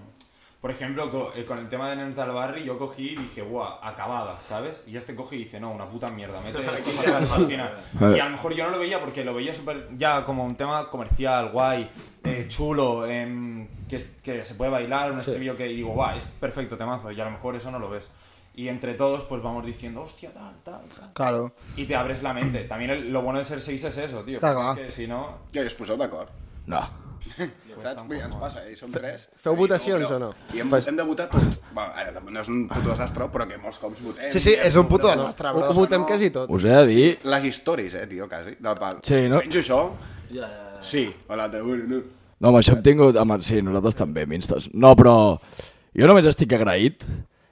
S6: Por ejemplo, co- eh, con el tema de Nens del Barri, yo cogí y dije, guau, acabada, ¿sabes? Y este coge y dice, no, una puta mierda, mete las cosas al final. Y a lo mejor yo no lo veía porque lo veía súper, ya como un tema comercial, guay, eh, chulo, em, que, es- que se puede bailar, un estribillo que digo, guau, es perfecto temazo, y a lo mejor eso no lo ves. Y entre todos, pues vamos diciendo, hostia, tal, tal, tal.
S5: Claro.
S6: Y te abres la mente. También el- lo bueno de ser seis es eso, tío.
S5: Clar, clar.
S6: Que si no,
S4: Ja, i us poseu d'acord.
S1: No.
S4: Saps? Vull dir, ens passa, eh, i som tres.
S8: Feu
S4: i som
S8: votacions
S4: prou.
S8: o no?
S4: I hem, hem de votar tots. Bueno, ara, tampoc no és un puto desastre, però que molts cops votem.
S5: Sí, sí,
S4: diem,
S5: és un puto
S4: votem.
S5: desastre,
S8: Ho,
S5: bro.
S8: ho votem quasi tot.
S1: Us he de dir...
S4: Les històries, eh, tio, quasi, del pal.
S1: Sí, no?
S4: Penjo això? Sí. O l'altre, bueno, no.
S1: No, amb això hem tingut... Amb, sí, nosaltres també, minstes. No, però jo només estic agraït.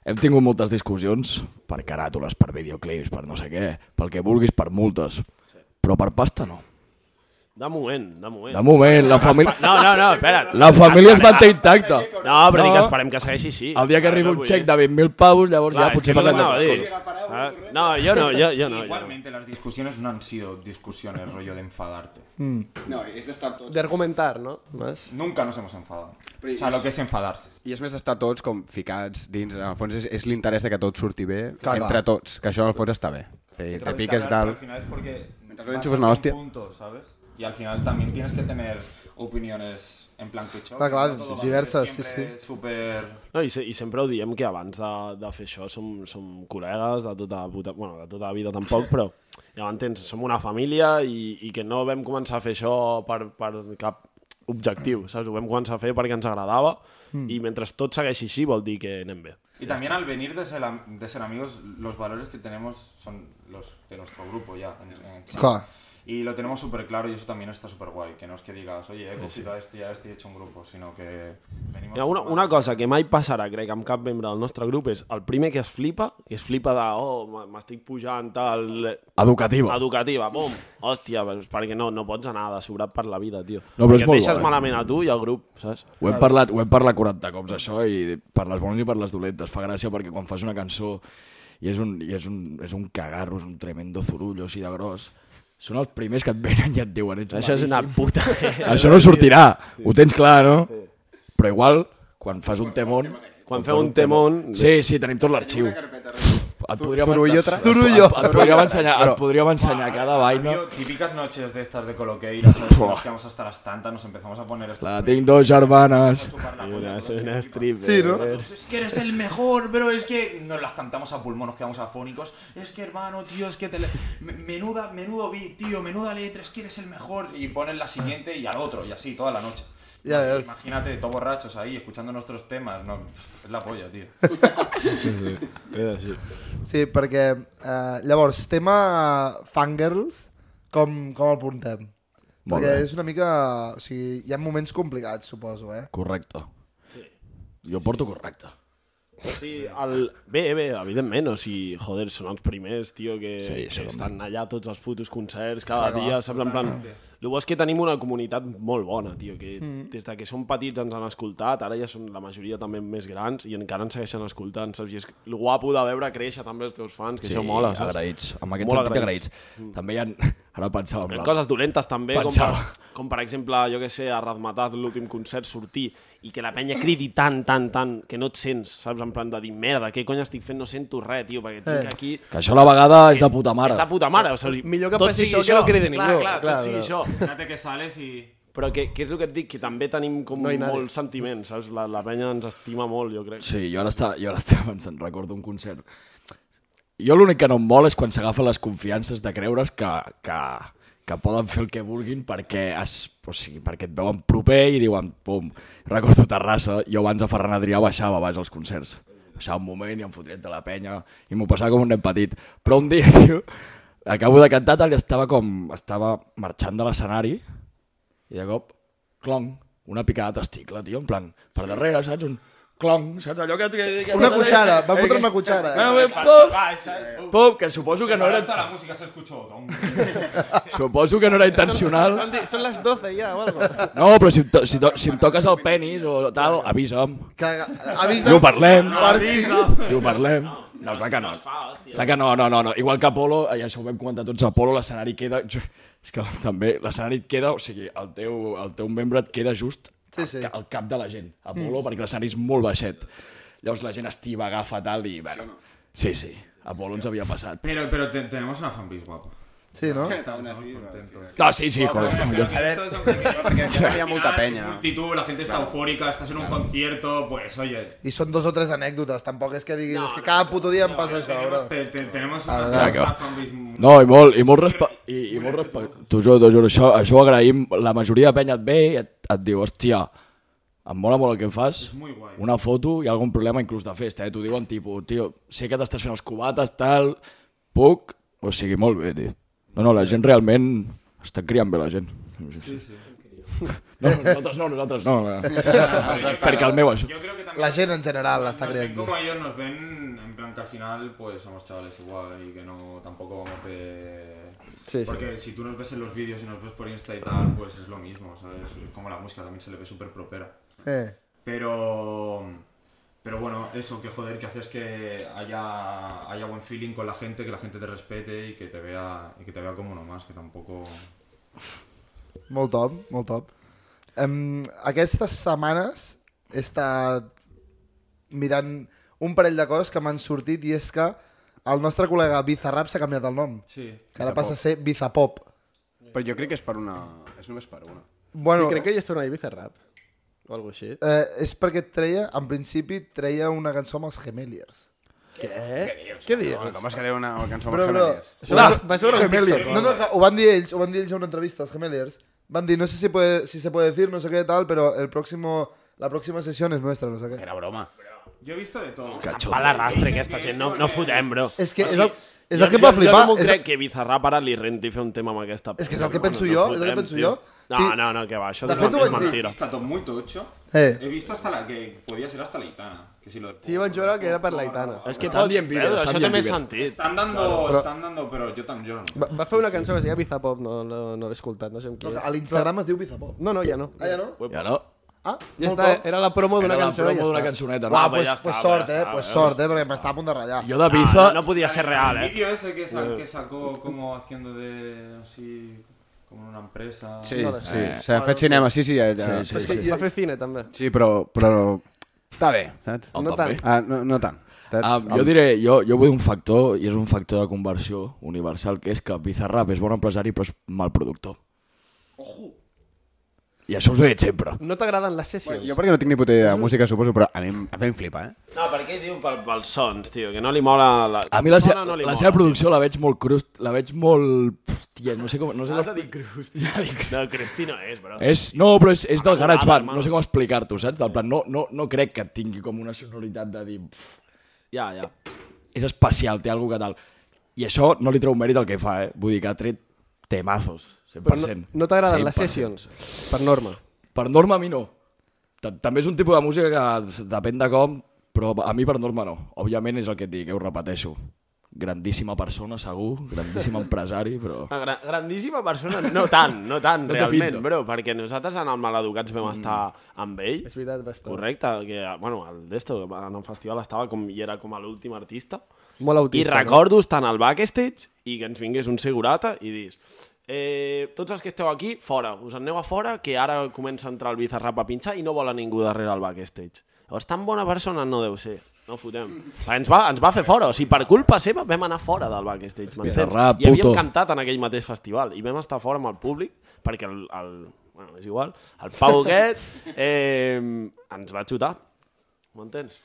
S1: Hem tingut moltes discussions per caràtules, per videoclips, per no sé què, pel que vulguis, per multes. Però per pasta no.
S7: De moment, de moment.
S1: De moment, la família...
S7: No, no, no, espera't.
S1: La família es manté intacta.
S7: No, però dic
S1: No.
S7: que esperem que segueixi així.
S1: El dia que arribi un xec de 20.000 pavos, llavors ja potser parlem de...
S7: Ah, No, jo no, jo, jo no. Jo no.
S6: igualmente las discusiones no han sido discusiones rollo de enfadarte.
S4: No, és d'estar tots.
S8: D'argumentar, no? Més.
S6: Nunca nos hemos enfadado.
S4: Pero
S6: O sea, lo que es enfadarse.
S2: I és més estar tots com ficats dins, en el fons és, és l'interès de que tot surti bé
S5: Clar,
S2: entre
S5: clar.
S2: tots, que això en el fons està bé. Sí, te
S6: Entonces,
S2: piques
S6: hablar, pero
S2: dalt.
S6: Al final es porque.
S2: Mientras no
S6: vas
S2: enchufes una
S6: a un
S2: hostia.
S6: punto, ¿sabes? Y al final también tienes que tener opiniones en plan que chocan.
S5: Claro, claro,
S6: no todo va a
S5: diversas,
S6: ser
S5: sí,
S6: siempre Súper.
S7: No, i, se, I sempre ho diem que abans de, de fer això som, som col·legues de tota, puta, bueno, de tota la vida tampoc, però ja m'entens, som una família i, i que no vam començar a fer això per, per cap objectiu, saps? Ho vam començar a fer perquè ens agradava mm. i mentre tot segueixi així vol dir que anem bé.
S6: Y también al venir de ser, am- de ser amigos, los valores que tenemos son los de nuestro grupo ya. en- en-
S5: Clar.
S6: Y lo tenemos súper claro y eso también está súper guay. Que no es que digas, oye, he cogido a este y a este y he hecho un grupo, sino que venimos.
S7: Mira, una, una cosa que mai passarà, crec, amb cap membre del nostre grup és el primer que es flipa, que es flipa de, oh, m- m'estic pujant tal...
S1: Educativa.
S7: Educativa, pum. Hòstia, doncs perquè no, no pots anar de sobrat per la vida, tio.
S1: No, però és
S7: Perquè
S1: molt
S7: et deixes
S1: bo, eh?
S7: malament a tu i al grup, saps?
S1: Ho hem, parlat, ho hem parlat 40 cops això i per les bones i per les dolentes. Fa gràcia perquè quan fas una cançó i és un, i és un, és un cagarro, és un tremendo zurullo així de gros, són els primers que et venen i et diuen ets
S7: Això és una
S1: malíssim.
S7: puta...
S1: Això no sortirà, ho tens clar, no? Però igual, quan fas un temón...
S7: Quan feu un temón...
S1: Sí, sí, tenim tot l'arxiu. Et podríem,
S2: Zurullo
S1: et,
S2: tras-
S1: et, et podríem ensenyar, et podríem ensenyar cada vaina.
S6: Tío, típicas noches de estas de coloqueira, ¿sabes? Que nos quedamos hasta las tantas, nos empezamos a poner
S1: La
S6: esta.
S1: tinc dos germanes.
S6: chupar la polla, ¿no?
S5: Sí, no?
S6: Pues Es que eres el mejor, bro. Es que nos las cantamos a pulmón, nos quedamos afónicos. Es que, hermano, tío, es que te. le- me- Menuda, menudo beat, tío, menuda letra, es que eres el mejor. Y ponen la siguiente y al otro, y así toda la noche.
S5: Ya
S6: Imag-
S5: ves.
S6: Imagínate, todos borrachos ahí, escuchando nuestros temas. No, es la polla, tío.
S5: Sí, perquè... Eh, llavors, tema fangirls, com, com el puntem?
S1: Molt
S5: perquè
S1: bé.
S5: és una mica... O sigui, hi ha moments complicats, suposo, eh?
S1: Correcte. Jo porto correcte.
S7: Sí, el... Bé, bé, evidentment, o sigui, joder, són els primers, tio, que,
S1: Sí,
S7: sí,
S1: són-
S7: que estan allà tots els putos concerts cada dia, saps? En plan, el bo és que tenim una comunitat molt bona, tio, que
S1: Mm.
S7: des de que som petits ens han escoltat, ara ja són la majoria també més grans i encara ens segueixen escoltant, saps? I és el guapo de veure créixer també els teus fans, que sí, això mola, saps?
S1: agraïts. En aquest
S7: Molt
S1: sentit,
S7: agraïts.
S1: agraïts. També hi ha... Ara pensava... en
S7: Hi ha
S1: plan-
S7: coses dolentes també, com per,
S1: Pensava.
S7: com per exemple, jo que sé, a Razmataz l'últim concert sortir i que la penya cridi tant, tant, tant, que no et sents, saps? En plan de dir, merda, què cony estic fent? No sento res, tio, perquè
S8: Eh.
S7: tinc aquí...
S1: Que això a la vegada és de puta mare.
S7: És de puta mare, o sigui,
S8: Millor que
S7: tot
S8: passi
S7: sigui
S8: això que no cridi
S7: Clar,
S8: ningú,
S7: clar,
S8: clar,
S7: tot sigui
S8: però-
S7: això.
S6: Fíjate que sales y.
S7: Però que, que és el que et dic, que també tenim com
S8: No hi ha nadie.
S7: molt sentiment, saps? La, la penya ens estima molt, jo crec.
S1: Sí, jo ara estava, jo ara estava pensant, recordo un concert. Jo l'únic que no em mol és quan s'agafen les confiances de creure's que, que, que poden fer el que vulguin perquè, es, o sigui, perquè et veuen proper i diuen, pum, recordo Terrassa, jo abans a Ferran Adrià baixava abans als concerts. Baixava un moment i em fotria de la penya i m'ho passava com un nen petit. Però un dia, tio, acabo de cantar tal i estava com, estava marxant de l'escenari i de cop, clonc, una picada de testicle, tio, en plan, per darrere, saps? Un clonc, saps? Allò que... que, que tota
S5: Una cuchara, va fotre una cuchara. eh?
S1: Ah, bé, pop,
S6: eh.
S1: pop, que suposo que no era,
S6: Hasta la música se escuchó. don.
S1: suposo que no era intencional.
S8: Són les 12 ja, o algo.
S1: No, però si, em to, si, to, si em toques el penis o tal, avisa'm.
S5: Que, avisa...
S1: I ho parlem,
S5: Per si...
S1: i ho parlem. No, clar que no. Clar que no, no, no, no. Igual que Apolo, eh, i això ho vam comentar tots, Apolo l'escenari queda... És que també l'escenari et queda, o sigui, el teu, el teu membre et queda just
S5: Sí, sí.
S1: ca- al cap de la gent, a Polo, mm. perquè l'escenari és molt baixet. Llavors la gent es tiba, agafa tal i, bueno... Sí, sí, a Polo ens havia passat.
S6: Pero, pero te- tenemos una fanbase guapa.
S5: Sí, no?
S6: Estamos contentos.
S1: No, sí, sí, joder.
S4: A ver, porque siempre había mucha
S6: Es
S4: peña.
S6: multitud, la gente está eufórica, estás en un concierto, pues oye.
S5: I són dos o tres anècdotes, tampoc és que diguis, no, és que cada puto dia em passa això,
S6: Tenemos,
S5: bro.
S6: te- te- tenemos una,
S1: Clar que
S6: una
S1: va.
S6: fanbase muy-
S1: No, i molt, i molt, respe i, i molt respecte. T'ho juro, t'ho juro, això, això ho agraïm. La majoria de penya et ve i et, et diu, hòstia, em mola molt el que em fas,
S6: muy guai.
S1: una foto i algun problema inclús de festa, eh? T'ho diuen tipus, tio, sé que t'estàs fent els cubates, tal, puc... O sigui, molt bé, tio. No, no, la gent realment... Està criant bé la gent. Sí, sí. No, nosaltres no, nosaltres no. no. Perquè el meu, això.
S6: Yo creo que también
S5: La gent en general l'està
S6: nos ven
S5: creient.
S6: como ellos nos ven, en plan que al final pues somos chavales igual y que no tampoco vamos de...
S8: Sí, sí.
S6: Porque si tú nos ves en los vídeos y nos ves por Insta y tal, pues es lo mismo, ¿sabes? Como la música también se le ve súper propera.
S5: Eh.
S6: Pero. Pero bueno, eso, que joder, que haces que haya, haya buen feeling con la gente, que la gente te respete y que te vea, y que te vea como uno más, que tampoco.
S5: Molt top, molt top. Um, aquestes setmanes he estat mirant un parell de coses que m'han sortit i és que el nostre col·lega Bizarrap s'ha canviat el nom.
S6: Sí.
S5: Que ara passa a ser Bizapop.
S2: Però jo crec que és per una... És només per una.
S5: Bueno,
S8: Sí, crec que hi és tornar a Ibiza Rap. O alguna així.
S5: eh, és perquè treia, en principi, treia una cançó amb els Gemeliers.
S8: Què? Què
S2: Bueno,
S8: dius?
S2: com es que era una cançó amb
S5: Però, però,
S2: Gemeliers?
S8: Això
S5: Ah,
S8: vas, vas veure un TikTok.
S5: no, no, que ho van dir ells, ho van dir ells en una entrevista, els Gemeliers. Van dir, no sé si, puede, si se puede decir, no sé què tal, però el próximo, la próxima sessió és nuestra, no sé què.
S2: Era broma.
S6: Yo he visto de todo.
S7: Pa l'arrastre aquesta gent, no, eh, no fotem, bro.
S5: És que
S7: O
S5: és
S7: sigui,
S5: el, és el que em
S7: jo,
S5: va flipar.
S7: Jo no m'ho
S5: és el-
S7: crec que Bizarrap ara li renti fer un tema amb aquesta...
S5: És que és
S7: puta,
S5: el que
S7: però
S5: penso
S7: bueno,
S5: jo,
S7: no
S5: és el que
S7: fotem,
S5: penso
S7: tio.
S5: jo.
S7: No,
S5: Sí.
S7: no, no, que va, això
S5: De fet, ho
S7: és
S5: vaig dir.
S7: mentira.
S6: Está todo muy tocho.
S5: Eh.
S6: He visto hasta la que podía ser hasta la Itana. Que si lo
S8: Sí, vaig veure que era per la Itana.
S7: És que
S1: Estan
S7: pot,
S1: dient vídeos,
S7: eh,
S1: estan
S7: això
S1: dient
S7: també he
S1: vídeos.
S7: sentit.
S6: Están dando, están dando, pero yo también. Yo no.
S8: Va, va fer una cançó que es deia Ibiza Pop, no, no, no l'he escoltat, no sé amb qui
S5: A
S8: és.
S5: l'Instagram es diu Bizapop.
S8: No, no, ja no.
S5: Ah, ja no?
S1: Ja no?
S5: Ah,
S8: Ja
S5: molt
S8: està,
S5: top.
S8: era la promo
S1: Era
S8: d'una
S1: la
S8: cançó. i
S1: promo
S8: ja
S1: d'una
S8: està.
S1: cançoneta, no?
S5: Guau,
S7: Guapa,
S5: ah, pues,
S7: ja està,
S5: pues
S7: ja
S5: sort,
S7: està,
S5: eh?
S7: ja
S5: Pues
S7: està.
S5: sort, eh? Perquè m'està a punt de ratllar.
S1: Jo de
S7: No,
S8: Ah,
S1: Biza...
S7: no, no podia ser real,
S6: El
S7: eh.
S6: vídeo ese que, sa- que sacó como haciendo de. así. como en una empresa.
S2: Sí,
S8: No, no,
S2: sí. S'ha fet cinema, sí, sí. Ja, ja. Sí,
S8: Però és que va fer cine, també.
S2: sí, però... però... Està bé, saps?
S1: El
S8: no
S1: top,
S8: tant.
S1: eh?
S2: Ah, no, no tant. Saps?
S1: Um, jo diré, jo, jo vull un factor, i és un factor de conversió universal, que és que Bizarrap és bon empresari però és mal productor. Ojo! I això us ho he dit sempre.
S8: No t'agraden les sessions?
S2: Jo perquè no tinc ni puta idea de música, suposo, però a mi, em- a mi em flipa, eh?
S7: No, per què diu pel, pels sons, tio? Que no li mola... La,
S1: A mi la, se,
S7: sona no li
S1: la
S7: mola.
S1: seva producció la veig molt crust, la veig molt... Hòstia, no sé com... No sé la...
S7: dir Crust. Ja dic Crust. No, Crusty no és, bro.
S1: És, no, però és, és del
S7: Acabada,
S1: garage band,
S7: Ah, hermano.
S1: no sé com explicar-t'ho, saps? Del plan, no, no, no crec que tingui com una sonoritat de dir... "Pff,
S7: Ja, ja.
S1: És especial, té alguna cosa que tal. I això no li treu mèrit al que fa, eh? Vull dir que ha tret temazos, 100%.
S8: Però no, no t'agraden les
S1: 100%.
S8: sessions, per norma.
S1: Per norma a mi no. Ta- També és un tipus de música que s- depèn de com, però a mi per norma no. Òbviament és el que et dic, eh, ho repeteixo. Grandíssima persona, segur, grandíssim empresari, però...
S7: Una gra grandíssima persona, no tant, no tant,
S1: No
S7: no
S1: té
S7: realment,
S1: pinta.
S7: bro, perquè nosaltres en el Maleducats vam estar amb ell,
S8: Mm. És veritat, va estar.
S7: correcte, que, bueno, el d'esto, en el festival estava com, i era com a l'últim artista,
S8: Molt autista.
S7: i recordo estar en el backstage i que ens vingués un segurata i dis eh, tots els que esteu aquí, fora, us en aneu a fora que ara comença a entrar el Bizarrap a pinxar i no vola ningú darrere el backstage. Llavors, tan bona persona no deu ser. No fotem. Ens va, ens va fer fora. O sigui, per culpa seva vam anar fora del backstage. m'entens?
S1: Bizarrap,
S7: I havíem
S1: puto.
S7: cantat en aquell mateix festival. I vam estar fora amb el públic perquè el... el bueno, és igual. El Pau Guet eh, ens va xutar. M'entens?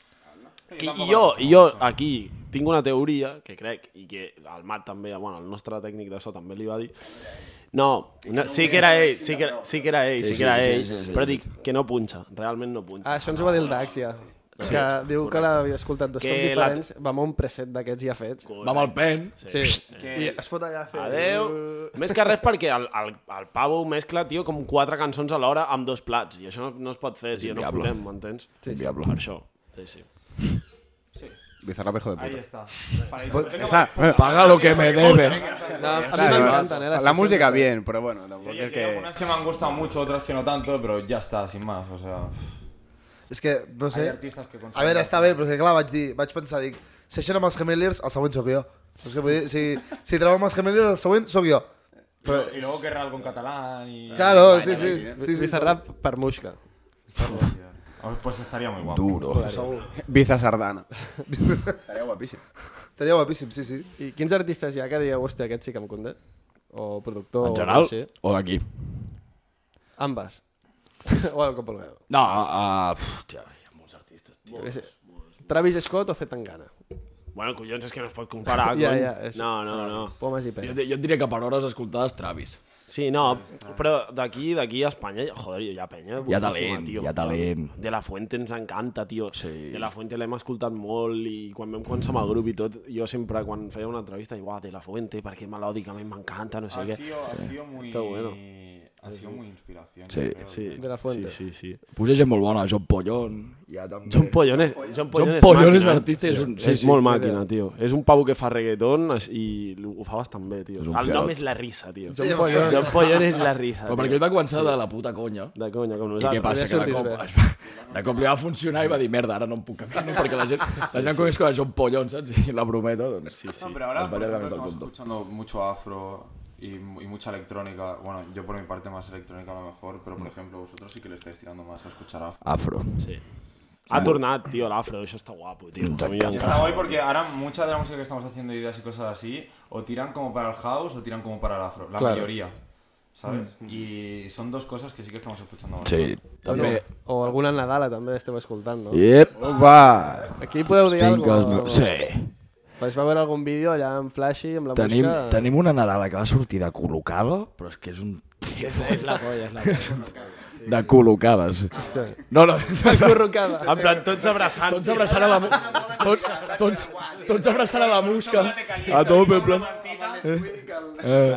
S7: I, i jo, i jo aquí tinc una teoria que crec, i que el Mat també, bueno, el nostre tècnic de so també li va dir, no, no sí que era ell, sí que, era- sí que era ell, sí, que era ell, però dic que no punxa, realment no punxa.
S8: Ah, això ens ho va dir el Dax, ja. Que diu que l'havia escoltat dos
S7: Que
S8: cops
S7: la-
S8: diferents, va amb un preset d'aquests ja fets.
S1: Va amb el pen.
S8: Sí. I es fot allà a fer...
S7: Adeu. Més que res perquè el, el, el Pavo mescla, tio, com quatre cançons alhora amb dos plats, i això no, no es pot fer, tio, no
S1: inviable.
S7: fotem, m'entens?
S8: Sí, sí.
S7: Per això, sí, sí.
S2: Bizarrap, hijo de
S6: Ahí
S2: puta.
S6: está.
S8: Pues-
S2: Està, bueno,
S1: Paga lo que me debe.
S8: No, a mi
S2: Claro,
S8: m'encanten, eh? les
S2: la
S8: sessions
S2: música
S8: aquestes.
S2: bien, pero bueno, tampoco
S6: Oye,
S2: es
S6: que hay
S2: que...
S6: algunas que me han gustado mucho, otras que no tanto, pero ya está, sin más. O sea,
S5: És que, no
S6: hay
S5: sé...
S6: artistas que
S5: A veure, està bé, però és que clar, vaig dir, vaig pensar, dic, session amb els Gemeliers, el següent sóc jo. Saps què vull dir? Si, si trobo amb els Gemeliers, el següent sóc jo.
S6: Y luego querrá algo en catalán y.
S7: Ah,
S5: Claro, sí, sí. sí, sí, sí.
S8: Bizarrap per Muixca.
S6: Oh, Pues estaría muy guapo.
S1: Duro.
S5: segur.
S2: Biza Sardana. Estaria guapíssim.
S5: Estaria guapíssim, sí, sí.
S8: I quins artistes hi ha que dieu, hòstia, aquest sí que em conté? O productor
S1: En
S8: o
S1: general,
S8: així?
S1: o d'aquí?
S8: Ambas. bueno, com vulgueu.
S1: No, uh, hòstia, hi ha molts artistes.
S8: Jo què sé. Travis Scott o Zetangana?
S7: Bueno, collons, és que no es pot comparar.
S8: Ja,
S7: cony.
S8: ja, és-
S7: No, no, no.
S8: Pomes i
S1: Jo,
S8: peres.
S1: et- jo et diré que per hores escoltades Travis.
S7: Sí, no, però d'aquí d'aquí a Espanya, joder, hi ha penya.
S1: Hi ha
S7: boníssima,
S1: talent,
S7: tio.
S1: hi ha talent.
S7: De la Fuente ens encanta, tio. Sí. De la Fuente l'hem escoltat molt i quan vam començar amb el grup i tot, jo sempre quan feia una entrevista, dic, uah, de la Fuente, perquè melòdicament m'encanta, no sé
S8: Ah,
S6: Ha
S7: què.
S6: sido, ha sido muy.
S7: Está bueno.
S6: Ha sido muy inspiración.
S1: Sí.
S6: creo.
S7: Sí,
S8: De la Fuente.
S7: Sí, sí, sí.
S1: Posé gent molt bona, John Pollón. Hi ha també...
S7: John Pollón és, John Pollón
S1: John
S7: és,
S1: Pollón és
S7: màquina,
S1: un
S7: eh?
S1: artista i és un- sí,
S7: és
S1: sí,
S7: molt
S1: sí,
S7: màquina, tio. És un pavo que fa reggaeton es- i ho fa bastant bé, tio.
S1: És
S7: El
S1: un
S7: nom
S1: fierot.
S7: és La Risa, tio.
S5: Sí,
S7: John Pollón és La Risa,
S1: Però perquè
S7: tio.
S1: ell va començar de la puta conya.
S7: De conya, com
S1: I què
S7: nosaltres.
S1: passa? Que de
S8: sortit
S1: cop,
S8: bé.
S1: es va, de cop li va funcionar i va dir, merda, ara no em puc cantar, no? perquè la gent, la gent coneix com a John Pollón, saps? I la brometa, doncs... Sí,
S6: No, pero ahora
S1: Las
S6: por
S1: varias
S6: ejemplo,
S1: ganas del
S6: estamos
S1: punto.
S6: escuchando mucho afro y, mu- y mucha electrónica. Bueno, yo por mi parte más electrónica a lo mejor, pero por
S1: Mm.
S6: ejemplo vosotros sí que le estáis tirando más a escuchar afro.
S1: Afro. Sí.
S7: Ha tornat, tio, l'afro. Això està guapo, tio. A mi em
S1: Mm.
S6: Y
S7: m'encanta.
S6: está guay porque ahora mucha de la música que estamos haciendo, ideas y cosas así, o tiran como para el house o tiran como para el afro. La
S8: Claro.
S6: mayoría, ¿sabes? Y son dos cosas que sí que estamos escuchando ahora.
S1: Mm. Sí, també...
S8: O alguna Nadala també esteu escoltant, no?
S1: Yep.
S2: Va.
S8: Aquí podeu dir
S1: Tinc els
S8: alguna
S1: meus...
S8: cosa.
S1: Sí.
S8: Pues va veure algun vídeo allà amb Flashy, amb la
S1: Tenim,
S8: música...
S1: tenim una Nadala que va sortir de col·locada, però és que és un...
S7: És la colla, és la colla.
S1: De col·locades.
S8: Hòstia.
S1: No, no,
S8: Corrocada.
S7: En plan, tots abraçant.
S1: tots abraçant a la... mu- Tots, tots, tots abraçant a la musca. A tope, en plan... Eh.
S6: En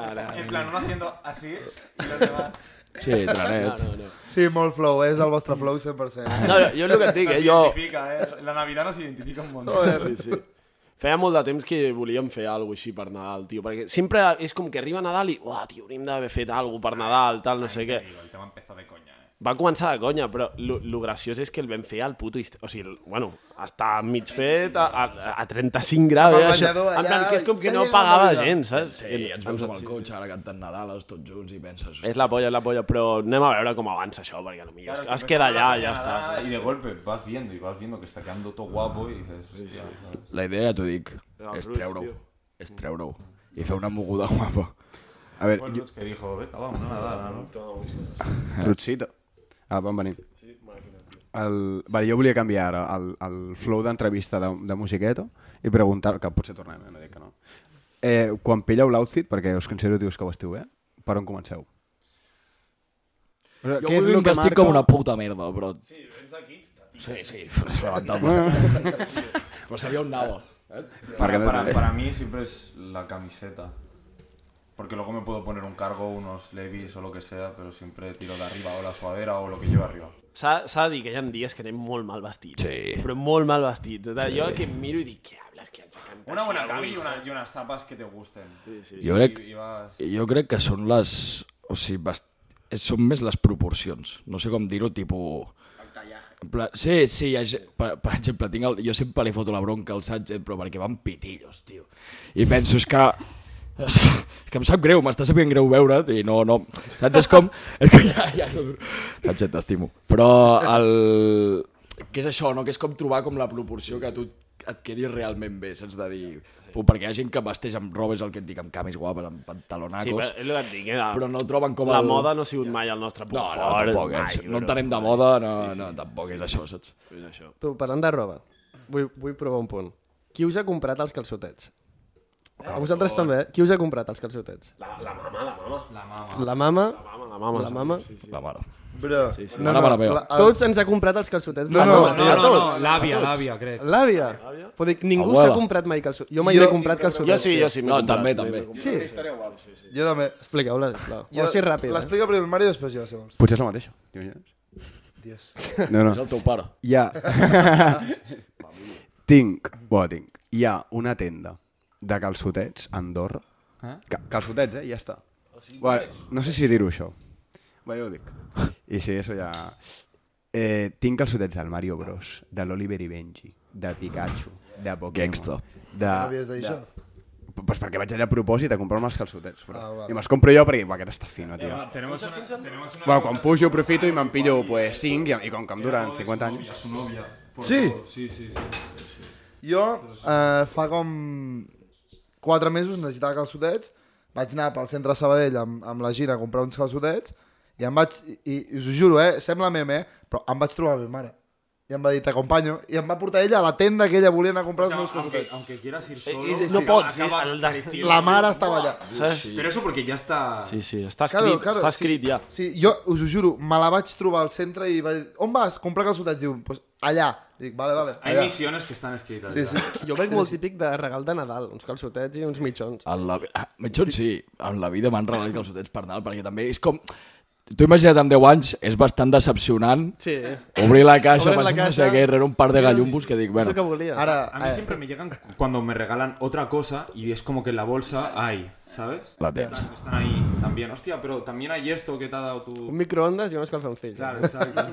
S6: plan, uno haciendo así y los demás.
S1: Sí, tranet.
S5: Sí, molt flow, eh, és el vostre flow 100%.
S7: No, no, jo és el que et dic,
S6: Nos
S7: eh? Jo,
S6: identifica, ¿eh? La Navidad nos identifica un montón.
S7: Sí, sí. Feia molt de temps que volíem fer alguna així per Nadal, tio, perquè sempre és com que arriba Nadal i, uah, tio, hauríem d'haver fet alguna per Nadal, tal, no sé què.
S6: El tema empezó de coña, ¿eh?
S7: Va començar de conya, però el graciós és que el vam fer al puto... hist- O sigui, el- bueno, està mig fet, a, a, a 35 graus,
S5: Amb el
S7: eh, això.
S5: banyador
S7: En plan,
S5: allà,
S7: que és com que
S5: ja
S7: no
S5: llega
S7: pagava
S5: Navidad.
S7: gent, saps?
S1: Sí, ens veus amb el cotxe, ara cantant Nadales, tots junts, i penses...
S7: És la polla, és la polla, però anem a veure com avança això, perquè potser es, es queda allà i ja està.
S6: Y
S7: Saps?
S6: de golpe vas viendo y vas viendo que está quedando todo guapo y dices, hostia, ¿sabes?
S1: La idea, ja t'ho dic, és treure-ho. És treure-ho. I fer una moguda guapa.
S2: A veure,
S6: Bueno, es que dijo, venga, vamos, nada, nada.
S1: Eh.
S2: Rutsita. Ah, van venir. El... Vale, jo volia canviar ara el, el flow d'entrevista de, de musiqueta i preguntar, que potser tornem, eh? no dic que no. Eh, quan pilleu l'outfit, perquè us considero tios que ho esteu bé, per on comenceu? O sigui,
S1: Jo
S2: què és
S1: vull dir
S2: lo
S1: que
S2: que
S1: estic
S2: marca-
S1: com una puta merda, però... Sí, vens de Sí, sí, però sabia on anava.
S2: Para
S6: Para,
S2: que no-
S6: para, para mí siempre es la camiseta. Porque luego me puedo poner un cargo, unos levis o lo que sea, pero siempre tiro de arriba o la suadera o lo que lleve arriba.
S7: S'ha s'ha de dir que hi ha dies que anem molt mal vestits.
S1: Sí.
S7: Però molt mal vestits. De Allò que em miro i dic, què hables, que haig de cantar
S6: Una buena
S7: així avui?"
S6: cami y, una- y unas zapas que te gusten.
S1: Jo crec,
S6: Y, y vas...
S1: jo crec que són les... O sigui, bast... eh, són més les proporcions. No sé com dir-ho, tipus... En pla- Sí, sí, hi ha, ge- per, per exemple, tinc el, jo sempre li foto la bronca al Sánchez, però perquè van pitillos, tio. I penso, és que... És que em sap greu, m'està sabent greu veure't i no, no, saps? És com... És que ja, ja no... Sánchez, t'estimo. Però el... Què és això, no? Que és com trobar com la proporció que tu et quedis realment bé, saps? De dir... Puh, perquè hi ha gent que vesteix amb robes, el que et dic, amb camis guapes, amb
S7: Sí, però
S1: pantalonacos,
S7: és el que et dic, eh?
S1: però no troben com
S7: la
S1: el...
S7: moda no ha sigut mai el nostre punt
S1: No, no,
S7: fort,
S1: tampoc, eh?
S7: mai,
S1: no
S7: però-
S1: entenem de moda, no, no, tampoc és això, saps?
S7: És això.
S8: Tu, parlant de roba, vull, vull provar un punt. Qui us ha comprat els calçotets? A vosaltres també, eh? Qui us ha comprat els calçotets?
S7: La, la mama, la mama. La mama. La
S8: La mama,
S7: mama, la mama.
S8: la mama...
S1: La mare.
S5: Bro,
S1: No, la mare meva.
S5: la- els-
S8: Tots ens ha comprat els calçotets. No,
S6: No, no, no, labia, labia, crec.
S8: L'àvia. Però dic, ningú s'ha
S1: Abuela.
S8: comprat mai calçotets. Jo mai n'he comprat calçotets.
S7: Jo sí, jo sí. m'he
S1: No,
S7: comprat,
S1: també,
S7: m'he
S1: també.
S7: comprat.
S8: Sí,
S5: Jo també.
S8: expliqueu-la, sisplau. Jo, o sí, ràpid. Eh?
S5: L'explica primer el Mario i després jo, si vols.
S2: Potser és la mateixa. t'imagines?
S5: Dios.
S2: No, no.
S1: És el teu pare.
S2: Hi ha... tinc, bo, tinc, hi ha una tenda de calçotets a Andorra. Eh? Calçotets, eh? Ja està. Bueno, no sé si dir-ho això. Bé, jo ho dic. I sí, això ja... Eh, tinc calçotets del Mario Bros, de l'Oliver i Benji, de Pikachu, de Pokémon...
S1: Gangsta.
S2: De...
S7: Ah,
S5: No havies de dir
S2: de-
S5: això?
S2: Pues perquè vaig allà a propòsit a comprar-me els calçotets. Però...
S5: Ah,
S2: Ah,
S5: vale. Eh,
S2: I me'ls compro jo perquè va, aquest està fino, tio.
S6: Ah, tenemos una, tenemos una
S2: Bueno, quan pujo aprofito i me'n pillo pues, 5 i, i com que em duren 50 anys...
S6: Su novia. por
S5: Sí.
S6: favor. Sí, sí, sí.
S5: Jo eh, fa com 4 mesos necessitava calçotets, vaig anar pel centre Sabadell amb, amb la Gina a comprar uns calçotets i em vaig, i, i us ho juro, eh, sembla meme, eh, però em vaig trobar a mi mare. I em va dir, t'acompanyo, i em va portar ella a la tenda que ella volia anar a comprar
S6: O sea,
S5: els meus
S6: aunque,
S5: calçotets.
S6: aunque quieras ir solo,
S7: sí,
S6: acaba-
S7: Eh, no pots,
S6: acaba
S7: eh, al das-
S6: creciendo.
S5: La mare estava allà.
S7: Saps?
S6: Pero eso porque ya está...
S7: Sí, sí, està escrit, està escrit
S5: sí,
S7: ja.
S5: Sí, jo us ho juro, me la vaig trobar al centre i vaig dir, on vas? Comprar calçotets? Diu, pues allà. Dic, vale, vale,
S6: Hay
S5: allà.
S6: misiones que están escritas.
S5: Sí,
S6: ya.
S5: sí.
S8: Jo crec molt típic de regal de Nadal, uns calçotets i uns mitjons.
S1: En la... vi- ah, Mitjons sí, en la vida m'han regalat calçotets per Nadal, perquè també és com... T'ho imagina't amb 10 anys, és bastant decepcionant
S8: Sí.
S1: obrir la caixa,
S8: Obres la
S1: pensar no sé
S8: caixa.
S1: què, rere un par de gallumbos que dic,
S8: Bueno, és el que
S1: bueno,
S8: volia.
S5: Ara,
S2: Ah,
S6: A mí
S5: eh,
S6: siempre me llegan cuando me regalan otra cosa y es como que en la bolsa hay, ¿sabes?
S1: la tens.
S6: Están ahí también. Hostia, pero también hay esto que te ha dado
S8: Un
S6: tu...
S8: microondes i unes calçonfills.
S6: Claro, exacto.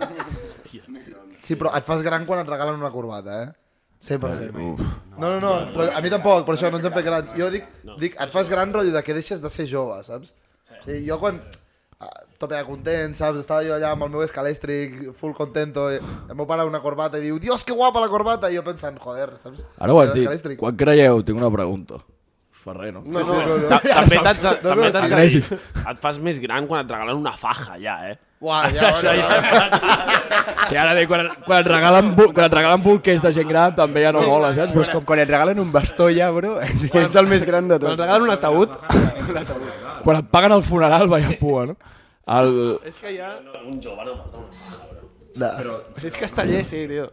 S5: sí, però et fas gran quan et regalen una corbata, eh? 100%.
S1: Uf.
S5: No, no, no, però a mi tampoc, per això no ens hem fet grans. Jo dic, dic et fas gran rotllo de que deixes de ser jove, saps? O sigui, jo quan a tope de content, saps? Estava jo allà amb el meu escalèstric, full contento, i el meu pare una corbata i diu, dios, que guapa la corbata, i jo pensant, joder, saps?
S1: Ara ho has dit,
S5: Escalèstric.
S1: quan creieu? Tinc una pregunta. Ferrer, no?
S5: No, no, no,
S7: Ta-
S5: no.
S7: També t'haig de- també
S5: no,
S7: t'haig
S1: sí.
S7: de dir,
S1: Agressiu.
S7: et fas més gran quan et regalen una faja, ja, eh?
S5: Uah, ja, bueno, ja.
S1: O sigui, ara bé, quan, quan, et regalen, bu- quan et regalen bolquers de gent gran també ja no mola, saps? Però és com
S2: quan et regalen un bastó ja, bro, ets el més gran de
S8: Quan et Doncs regalen un ataúd,
S1: quan et paguen el funeral, vaya pua, no? El...
S8: és que ja...
S7: Un jove no porta una
S8: Si és casteller, sí, tio.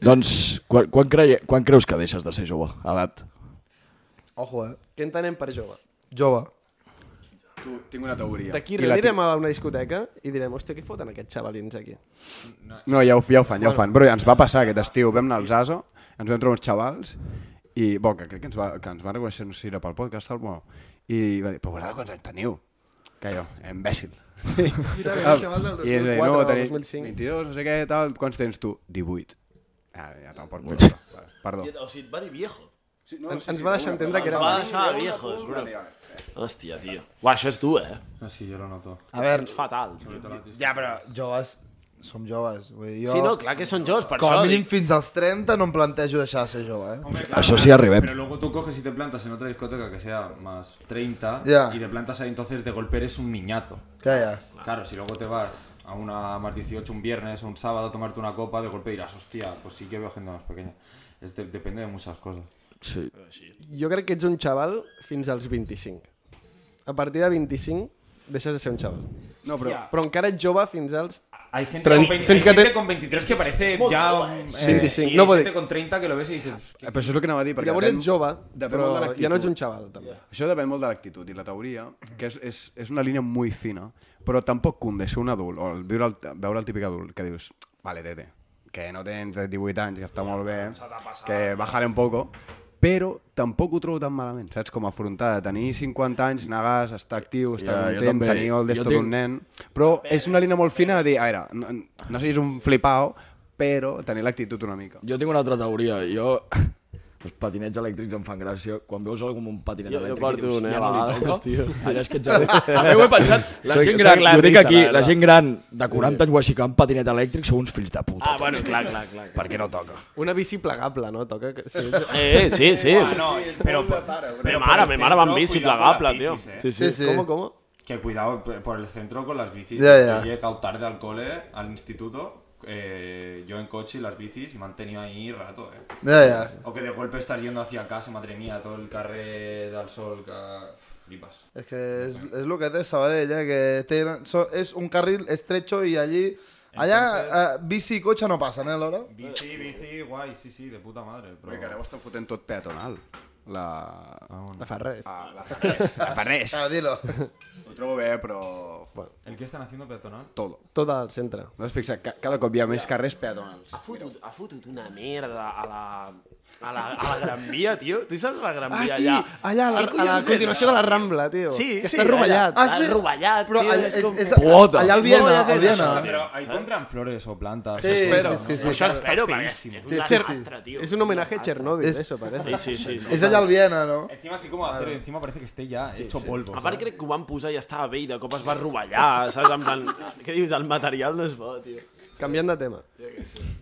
S1: Doncs, quan, quan, creie, quan creus que deixes de ser jove, edat?
S5: Ojo, eh?
S8: Què entenem per jove?
S5: Jove.
S2: Tu, tinc una teoria.
S8: D'aquí
S2: I la
S8: anirem a una discoteca i direm, hòstia, què foten aquests xavalins aquí?
S2: tinc- No, ja ho, ja ho fan, ja ho fan. Bro, ens va passar aquest estiu, vam anar al Zaso, ens vam trobar uns xavals, i, bo, que crec que ens, va, que ens van reconèixer, no sé si era pel podcast, tal, bo, i va dir, però vosaltres quants anys teniu? Que jo, imbècil.
S8: el xaval del
S2: I ens va dir,
S8: 2004
S2: no,
S8: o
S2: tenim
S8: 2005.
S2: 22, no sé què, tal, quants tens tu? 18. Ah, ja te'n porto. Va, Perdó.
S7: O sigui, et va dir viejo.
S4: Sí, no,
S8: Ens, ens va deixar entendre que
S7: Ens
S8: era...
S7: va deixar viejos, bro. Hòstia, tio. Uah, això és tu, eh?
S6: No, sí, yo lo noto.
S5: A veure,
S7: És fatal. Tio.
S5: ja, però joves, som joves. Vull dir, jo...
S7: Sí, no, clar que són joves, per
S5: Com a
S7: això.
S5: mínim
S7: dic.
S5: fins als 30 no em plantejo deixar de ser jove, eh?
S6: Hombre, claro,
S1: Eso sí, arribem.
S6: Pero luego tú coges y te plantas en otra discoteca que sea más 30
S5: Ya.
S6: y te plantas ahí, entonces de golpe eres un niñato.
S5: Que ja.
S6: Claro, si luego te vas a una más 18 un viernes o un sábado a tomarte una copa, de golpe dirás, hostia, pues sí que veo gente más pequeña. Es de- depende de muchas cosas.
S1: Sí.
S8: Jo crec que ets un xaval fins als 25. A partir de 25 deixes de ser un xaval.
S2: No, però...
S8: Però encara ets jove fins als...
S6: Hay gente,
S8: Tren-
S6: con, 20
S8: tienes que
S6: gente
S8: te-
S6: con 23 que parece ya... un-
S8: eh. 25,
S6: y
S8: no
S6: hay
S8: puede-
S6: gente con 30 que lo ves y dices...
S2: Però això és el que anava a dir, perquè...
S8: Llavors ets jove,
S2: depèn
S8: però
S2: molt de l'actitud.
S8: ja no ets un xaval, també.
S2: Això depèn molt de l'actitud i la teoria, que és, és, és una línia molt fina, però tampoc convé ser un adult, o el, viure el, veure el típic adult que dius, vale, tete, que no tens 18 anys, que està molt bé, que bajale un poco, però tampoc ho trobo tan malament, saps? Com afrontar, de tenir 50 anys, negar, estar actiu, estar
S1: Ja, jo
S2: content,
S1: també.
S2: tenir el
S1: Jo
S2: desto
S1: tinc-
S2: d'un nen... Però és una línia molt fina de dir, a veure, no, no siguis un flipao, però tenir l'actitud una mica.
S1: Jo tinc una altra teoria. Jo... Els patinets elèctrics em fan gràcia. Quan veus algú amb un patinet
S7: Jo- jo
S1: elèctric
S7: porto
S1: i dius,
S7: un, eh,
S1: ja
S7: a
S1: no li
S7: vegades,
S1: toca.
S7: tio.
S1: Allò és que ets... També ho he pensat. La
S7: Soc-
S1: gent
S7: soc
S1: gran,
S7: Ah, la
S1: jo dic
S7: risa,
S1: aquí,
S7: la
S1: la
S7: verdad.
S1: gent gran de 40 anys o així que va amb patinet elèctric sou uns fills de puta.
S7: Ah, bueno, clar, clar, clar. clar.
S1: Perquè no toca.
S8: Una bici plegable, no? Toca... que- Sí,
S7: Eh, eh, sí, sí.
S6: Ah, no, pero...
S7: Me mare, me mare va amb bici
S6: Cuidado con las
S7: plegable, tio.
S6: bicis, eh.
S7: Sí, sí.
S5: Sí, sí.
S8: ¿Cómo, cómo?
S6: Que cuidado p- por el centro con las bicis.
S5: Ya, ya.
S6: Yo he llegado tarde al cole, al instituto, eh, yo en coche y las bicis y me han tenido ahí rato, eh.
S5: Ja, ja.
S6: O que de golpe estás yendo hacia casa, madre mía, todo el carrer del sol, que flipas.
S5: Es que es, es lo que es de Sabadell, eh, que tienen- so- es un carril estrecho y allí... Allá eh, bici y coche no pasan, ¿eh, Laura?
S6: Bici, bici, guay, sí, sí, de puta madre. Pero...
S2: Perquè ara ho estan fotent tot peatonal. La...
S8: No fa res.
S2: La Farners. La Farners.
S5: Claro, Ah, dilo.
S2: Ho trobo bé, però... Bueno,
S6: ¿El que están haciendo peatonal?
S2: todo.
S8: Tot al centre.
S2: Ah, No has fixat? Ca- Cada cop hi ha més carrers peatonals.
S7: Ha fotut, ha fotut una merda a la... A la, a la Gran Via, tio. Tu saps la Gran
S8: Ah,
S7: Via
S8: sí,
S7: allà?
S8: allà, a la, a la continuació de la Rambla, tio.
S7: Sí,
S8: que
S7: sí,
S8: està rovellat.
S7: Allà,
S5: Ah, sí?
S7: ah, rovellat,
S5: Però
S7: tio.
S5: allà,
S7: és,
S5: és,
S7: com...
S5: és,
S1: Puta.
S5: allà al Viena,
S7: Mogollons és
S5: al
S6: Ah,
S7: això,
S5: Viena.
S7: tio.
S6: Pero ahí compran flores o plantas.
S5: Sí,
S6: eso
S5: sí,
S6: espero.
S5: sí, sí,
S7: Això
S5: sí.
S7: espero, perquè és un
S5: sí, sí.
S7: desastre, tio.
S8: És un homenatge a Chernobyl,
S5: És-
S8: eso, parece.
S7: Sí, sí, sí. sí.
S5: És allà al Viena, no?
S6: Encima así como hacer, encima parece que esté ya hecho polvo.
S7: A part crec que ho van posar i estava bé i de cop es va rovellar, saps? En plan, què dius? El material no és bo, tio.
S8: Canviant de tema.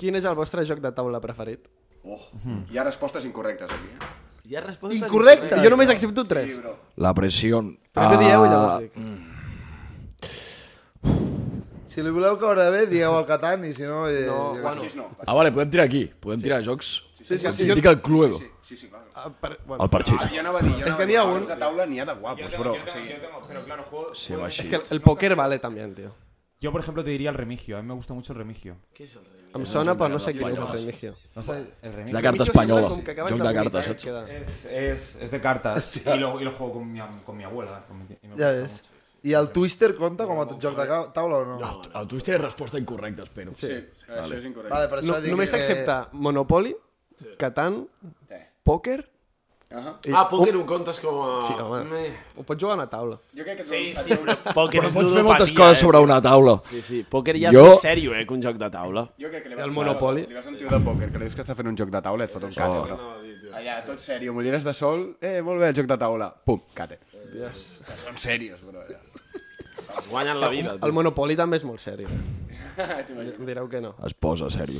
S8: Quin és el vostre joc de taula preferit?
S4: Oh,
S5: Mm-hmm.
S4: hi ha respostes incorrectes aquí. eh?
S7: Hi ha respostes...
S5: Incorrecte.
S8: Jo només accepto tres.
S4: bro.
S1: La Ah, presión.
S8: Primer dieu i
S5: Ah.
S8: llavors dic.
S5: Si li voleu caure bé, digueu el Catan i si no... Eh,
S8: No,
S5: jo-
S8: bueno,
S4: Sí, no.
S1: Ah, vale, podem tirar aquí. Podem tirar jocs.
S5: sí, sí, sí,
S1: Ens indica el Cluedo.
S4: Sí, sí, clar.
S8: ah, per, bueno.
S1: El parxís.
S4: Ah, jo anava a dir, jo
S5: que
S4: anava a dir,
S5: n'hi ha
S4: els
S5: un-
S4: jocs de taula n'hi ha de guapos, bro.
S6: yo,
S4: O
S6: tengo,
S4: sigui,
S6: yo tengo, pero claro, juego.
S1: Sí, va així.
S8: És que el, el pòquer vale també, tio.
S6: Yo, por ejemplo, te diría el remigio. A mí me gusta mucho el remigio.
S8: Em sona, però no sé quin és el remigio.
S6: No sé, el
S1: És de
S6: remigio.
S1: carta espanyola. Joc de cartes, saps?
S6: Es, es, es de cartas. Y lo, y lo juego con mi, am- con mi abuela. con mi tía, y me
S5: Ja
S6: gusta
S5: és.
S6: mucho.
S5: I el Twister compta com a joc de ca- taula o no?
S1: Ah, A tu tens resposta incorrecta, espero.
S4: sí, això és incorrecte.
S5: Vale, per això
S8: No,
S5: dic
S8: només
S5: que-
S8: s'accepta Monopoly, Catan,
S4: Sí.
S8: pòquer...
S7: Ah, pòquer ho comptes com a...
S8: Sí, home. Ho pots jugar a una taula.
S4: Jo crec que sí,
S7: sí, però pòquer
S1: Però pots
S7: és
S1: fer
S7: ludopatia,
S1: moltes coses
S7: eh?
S1: sobre una taula.
S7: Sí, sí, pòquer ja
S1: Jo-
S7: és més sèrio, eh, que un joc de taula.
S4: Jo crec que li
S8: El
S4: vas
S8: Monopoly.
S4: Li vas a un tio de pòquer que li dius que està fent un joc de taula i et fot un
S5: Oh.
S4: cate, bro. Allà, tot sèrio, mulleres de sol, eh, molt bé el joc de taula. Pum, cate. Són serios, bro. eh. allà.
S7: Es guanyen la vida,
S8: El
S7: tio.
S8: Monopoly també és molt sèrio. Em direu que no.
S1: Es posa, sèrio.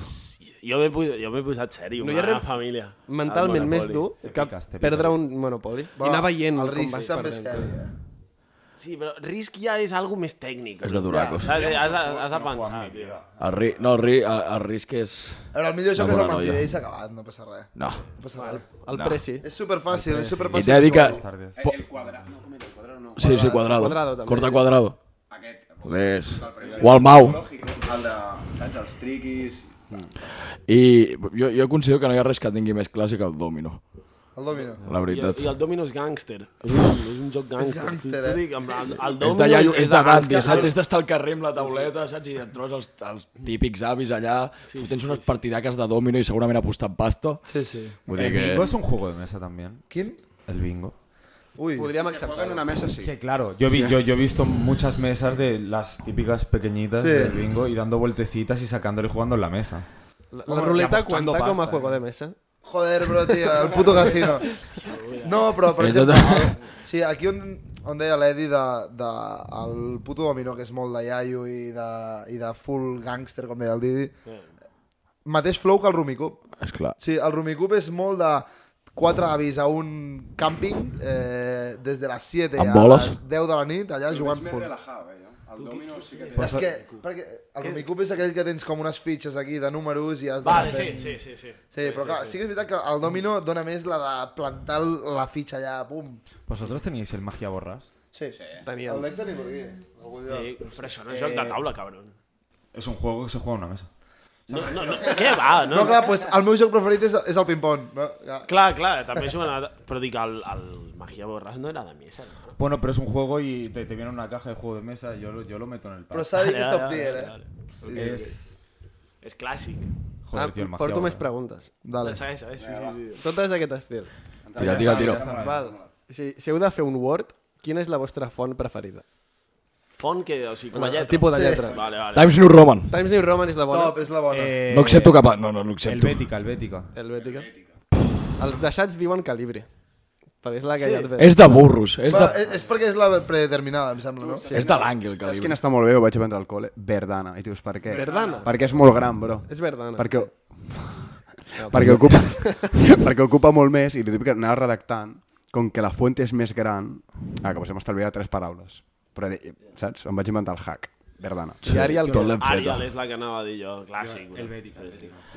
S7: Jo m'he posat, jo m'he posat sèrio,
S8: No
S7: no
S8: hi ha
S7: mare,
S8: res
S7: família.
S8: Mentalment
S7: El
S8: més
S7: Monopoly.
S8: dur que
S6: piques, te piques.
S8: perdre un Monopoly. I anar veient
S5: el
S8: com
S5: risc
S8: vas
S5: també és
S8: perdent.
S5: heavy, eh?
S7: Sí, però risc ja és algo més tècnic.
S1: És de
S7: bro.
S1: duracos.
S7: Saps? Has, de- has de
S6: No juego a
S7: pensar,
S6: mí,
S7: tio.
S6: tío.
S1: El ri... No, el, ri... el el risc és...
S5: A veure, el millor joc
S1: Una
S5: és el
S1: bona noia.
S5: mentider i s'ha acabat, no passa res.
S1: No.
S5: No passa res.
S8: El preci.
S5: És superfàcil, és
S1: I
S5: superfàcil.
S1: t'he de dir que...
S6: Tardes.
S4: Eh, el quadrat. No, com era? El quadrat no.
S1: Sí, sí, quadrado.
S8: Quadrado, també.
S1: Corta quadrado.
S4: Aquest.
S1: Ves. O el Mau.
S4: Lògic, eh? el de, saps, els triquis...
S1: I jo, jo considero que no hi ha res que tingui més classe que el domino,
S5: El domino.
S1: la
S7: I el,
S1: veritat.
S7: I el Domino és gàngster. És un, és un joc gàngster.
S5: gàngster,
S7: T'ho
S5: eh?
S7: dic, amb El, el
S1: És
S7: Domino
S1: de, iaio, és de
S7: gàngster.
S1: bandi, saps? És d'estar al carrer amb la tauleta, saps? I et trobes els, els típics avis allà, sí, tens unes partidaques de domino i segurament apostant pasta.
S5: Sí, Eh, sí.
S1: Vull dir
S6: El
S1: que...
S6: bingo es un juego de mesa también.
S5: Quin?
S6: El bingo.
S5: Ui.
S8: Podríem
S4: Se
S8: acceptar.
S4: posen una mesa, sí.
S6: Que claro, yo, vi, yo, yo he visto muchas mesas de las típicas pequeñitas
S5: Sí.
S6: del bingo y dando vueltecitas y sacándolo y jugando en la mesa.
S8: La, la
S6: Bueno,
S8: ruleta
S6: apostando
S8: cuenta com a
S6: pasta,
S8: juego
S6: eh?
S8: de mesa.
S5: Joder, bro, tio, el puto casino. No, però, per
S1: És
S5: exemple,
S1: tot-
S5: sí, aquí on, on deia l'Edi de, de, el puto domino, que és molt de iaio i de, i de full gangster, com deia el Didi, mateix flow que el Rumicup.
S1: Esclar.
S5: Sí, el Rumicup és molt de quatre avis a un càmping eh, des de les 7
S1: Amb
S5: a
S1: boles?
S5: les 10 de la nit, allà jugant
S4: És més
S5: full.
S4: relajado, eh, jo. El domino sí que té...
S5: És que, perquè el Rumicup és aquell que tens com unes fitxes aquí de números i has de...
S7: Vale,
S5: anar
S7: sí,
S5: fent-
S7: sí, sí. sí.
S5: Sí, però clar, sí que és veritat que el domino dona més la de plantar la fitxa allà, pum.
S6: ¿Vosotros teníais el magia borras?
S5: Sí, sí.
S8: Tenia
S5: el
S8: el...
S5: Lecter ni per aquí. algú dirà.
S7: Eh, però això no és joc de taula, cabron.
S6: Es un juego que se juega en una mesa.
S7: No, no, no, què va? No,
S5: No, clar, pues, el meu joc preferit és, és el ping-pong. No? Ja.
S7: Clar, clar, també és una... Però dic, el, el Magia Borràs no era de mesa. No?
S6: Bueno, pero es un juego y te, te viene una caja de juego de mesa. Yo lo, yo lo meto en el
S5: Però
S6: pack.
S5: s'ha de dir que és top tier, eh?
S6: Porque es.
S7: És clàssic.
S8: Ah,
S6: Joder, tío, el eh. magia
S8: porto més
S6: borras.
S8: preguntes.
S5: Dale.
S7: Segueix, segueix, sí, sí, sí.
S8: Tot és aquest estil.
S1: Tira, tira, tira.
S8: Val. Si, si heu de fer un Word, quina és la vostra font preferida?
S7: Font que, o sigui, com a
S8: El
S7: lletra.
S8: tipus de lletra.
S7: Vale, vale.
S1: Times New Roman.
S8: Times New Roman és la bona.
S5: Top, és la bona.
S6: Eh,
S1: No accepto cap... No, no, no
S6: El
S1: accepto.
S6: Bética, el Bética.
S8: Helvètica. Els deixats diuen calibre. Perquè és la que
S7: Sí.
S8: ja et ve.
S1: És de burros. És
S5: Però
S1: de,
S5: eh, és, és perquè és la predeterminada, em sembla, no?
S1: és de l'àngel, que
S2: Saps
S1: li
S2: quina està molt bé? Ho vaig aprendre al col·le. Verdana. I tu dius, per què?
S8: Verdana.
S2: Perquè és molt gran, bro.
S8: És verdana.
S2: Perquè... perquè, ocupa, perquè ocupa molt més i el que anava redactant, com que la font és més gran... Ah, que us hem estalviat tres paraules. Però, eh, saps? Em vaig inventar el hack. Verdana.
S8: I Arial
S1: Tot
S8: què?
S1: l'hem fet.
S7: Arial és la que anava a dir jo, clàssic. El Bética.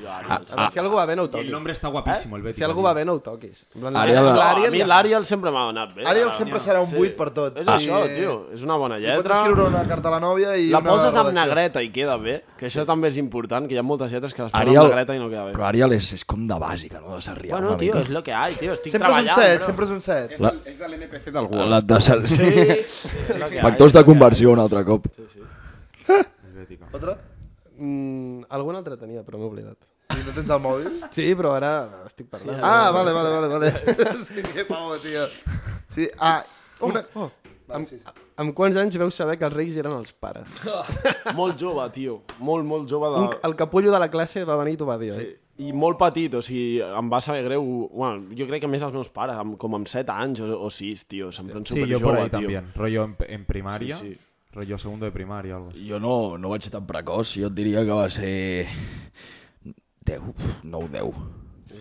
S7: Jo, Arial.
S8: A veure, si algú va bé, no ho
S6: Y el
S8: toquis.
S6: nombre está guapísimo, el Bética.
S8: Si algú va bé, no ho toquis. En plan,
S1: Arial-
S7: No,
S8: és
S7: a
S8: l'Arial
S7: mi
S8: i-
S7: l'Arial sempre m'ha anat bé.
S5: Ariel
S7: la
S5: sempre
S7: reunió.
S5: serà un buit per tot.
S7: És
S5: Ah.
S7: això,
S5: Sí.
S7: tio. És una bona
S5: Pots
S7: lletra.
S5: escriure una carta a la nòvia i
S7: La
S5: una
S7: poses amb
S5: redacció.
S7: negreta i queda bé, que això també és important, que hi ha moltes lletres que les posen amb
S1: Arial...
S7: negreta i no queda bé.
S1: Però Arial és, és com de bàsica, no? De Sarrià.
S7: Bueno,
S1: una
S7: tio,
S1: mica.
S7: és lo que hay, tio. Estic
S5: Sempre és un
S7: treballant, eh?
S5: set,
S7: bro.
S5: sempre és un set.
S4: És, del, és de l'NPC del Word.
S1: La de Sar... Sí.
S7: És lo que hay.
S1: Factors de conversió un altre cop.
S5: Otra?
S8: Mm, algun altre tenia, però m'he oblidat.
S5: si no tens el mòbil?
S8: Sí, però ara estic parlant.
S5: Ah, vale, vale, vale, vale. sí, que pavo, tio. Sí, ah, una... Oh,
S8: Amb quants anys veu saber que els reis eren els pares?
S7: Molt jove, tio. Molt, molt jove. De...
S8: Un, el capullo de la classe va venir i t'ho va dir, sí. oi?
S7: I molt petit, o sigui, em va saber greu... Bueno, jo crec que més els meus pares, amb, com amb 7 anys o, o 6, tio. Sempre en
S9: Sí,
S7: superjove,
S9: yo por ahí
S7: tio.
S9: también. Rollo en, en primaria.
S7: Sí, sí.
S9: Rollo segundo de primaria o algo así.
S1: Jo no, no vaig ser tan precoç, jo et diria que va ser... 10, 9, 10.